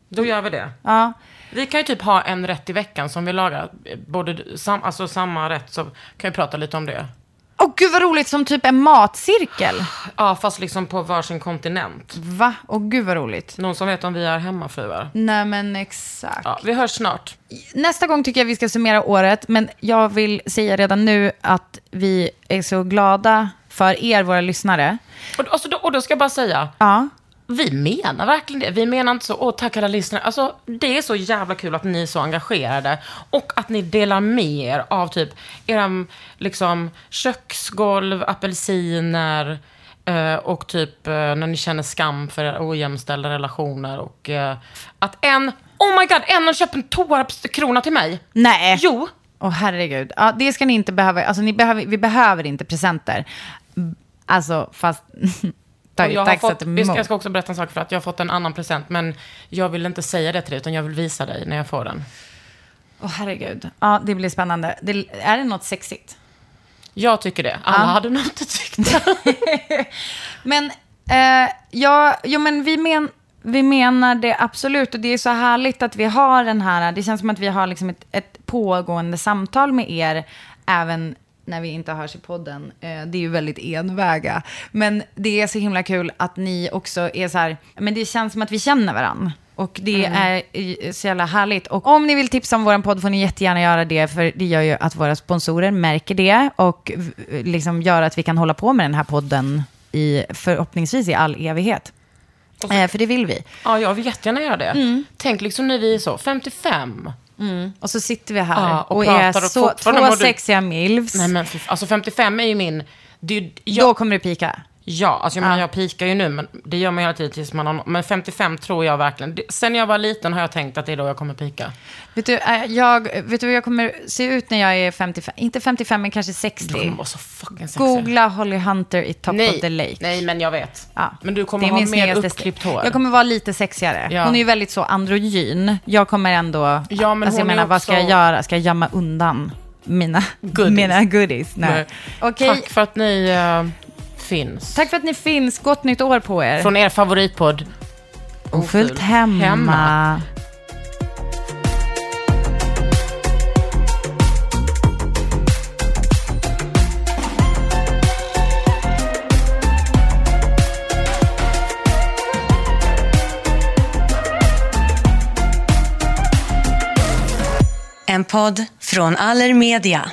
A: Då gör vi det.
B: Ja.
A: Vi kan ju typ ha en rätt i veckan som vi lagar. Eh, Både, du- sam, alltså samma rätt, så kan vi prata lite om det.
B: Åh gud vad roligt, som typ en matcirkel.
A: Ja, fast liksom på varsin kontinent.
B: Va? Åh gud vad roligt.
A: Någon som vet om vi är hemmafruar?
B: Nej men exakt.
A: Ja, vi hörs snart.
B: Nästa gång tycker jag vi ska summera året, men jag vill säga redan nu att vi är så glada för er, våra lyssnare.
A: Och, alltså, då, och då ska jag bara säga,
B: Ja.
A: Vi menar verkligen det. Vi menar inte så, åh tack alla lyssnare. Alltså, det är så jävla kul att ni är så engagerade och att ni delar med er av typ era liksom, köksgolv, apelsiner, Eh, och typ eh, när ni känner skam för era ojämställda relationer. Och eh, att en, oh my god, en har köpt en Toarps-krona till mig.
B: Nej.
A: Jo.
B: Åh herregud. Ja, det ska ni inte behöva. Alltså, ni behöver, vi behöver inte presenter. Mm, Alltså, fast... *laughs* ta,
A: Och jag, har
B: tack så
A: fått,
B: att
A: vi ska,
B: emot.
A: jag ska också berätta en sak för att jag har fått en annan present. Men jag vill inte säga det till dig, utan jag vill visa dig när jag får den.
B: Åh herregud. Ja, det blir spännande. Det, är det något sexigt?
A: Jag tycker det. Alla
B: Ja.
A: hade nog inte tyckt
B: *laughs*
A: det.
B: Men, eh, ja, jo, men vi, men vi menar det absolut. Och det är så härligt att vi har den här... Det känns som att vi har liksom ett, ett pågående samtal med er. Även när vi inte hörs i podden. Eh, det är ju väldigt enväga. Men det är så himla kul att ni också är så här... Men det känns som att vi känner varandra. Och det
A: Mm.
B: är i- så jävla härligt. Och om ni vill tipsa om vår podd får ni jättegärna göra det, för det gör ju att våra sponsorer märker det och v- liksom gör att vi kan hålla på med den här podden i, förhoppningsvis i all evighet. eh, för det vill vi.
A: Ja, jag vill jättegärna göra det.
B: Mm.
A: Tänk liksom när vi är så, 55.
B: Och så sitter vi här
A: Mm. Ja,
B: och,
A: och
B: är
A: pratar och
B: så,
A: fortfarande
B: två
A: mår du-
B: sexiga milfs.
A: Nej men fy- alltså 55 är ju min... Det, är ju- jag,
B: Då kommer det pika.
A: Ja, alltså jag, menar, jag pikar ju nu, men det gör man hela tiden tills man har... Men 55 tror jag verkligen. Det, sen jag var liten har jag tänkt att det är då jag kommer pika.
B: Vet du, eh, jag, vet du hur jag kommer se ut när jag är 55? Inte 55, men kanske
A: Du kommer
B: 60.
A: vara så fucking sexig.
B: Googla Holly Hunter i Top
A: nej,
B: of the Lake.
A: Nej, men jag vet.
B: Ja.
A: Men du kommer
B: Det är
A: ha
B: min
A: mer
B: snyggaste
A: uppklippt
B: stil.
A: hår.
B: Jag kommer vara lite sexigare.
A: Ja.
B: Hon är ju väldigt så androgyn. Jag kommer ändå...
A: Ja, men
B: alltså, jag
A: hon är
B: menar, vad ska jag
A: också-
B: göra? Ska jag gömma undan mina goodies?
A: Goodies.
B: Mina goodies? Nej.
A: Nej.
B: Okej,
A: Tack
B: tack.
A: för att ni eh, finns.
B: för att ni finns. Gott nytt år på er.
A: Från er favoritpodd.
B: Ofullt hemma.
A: Hemma.
F: En podd från Allermedia.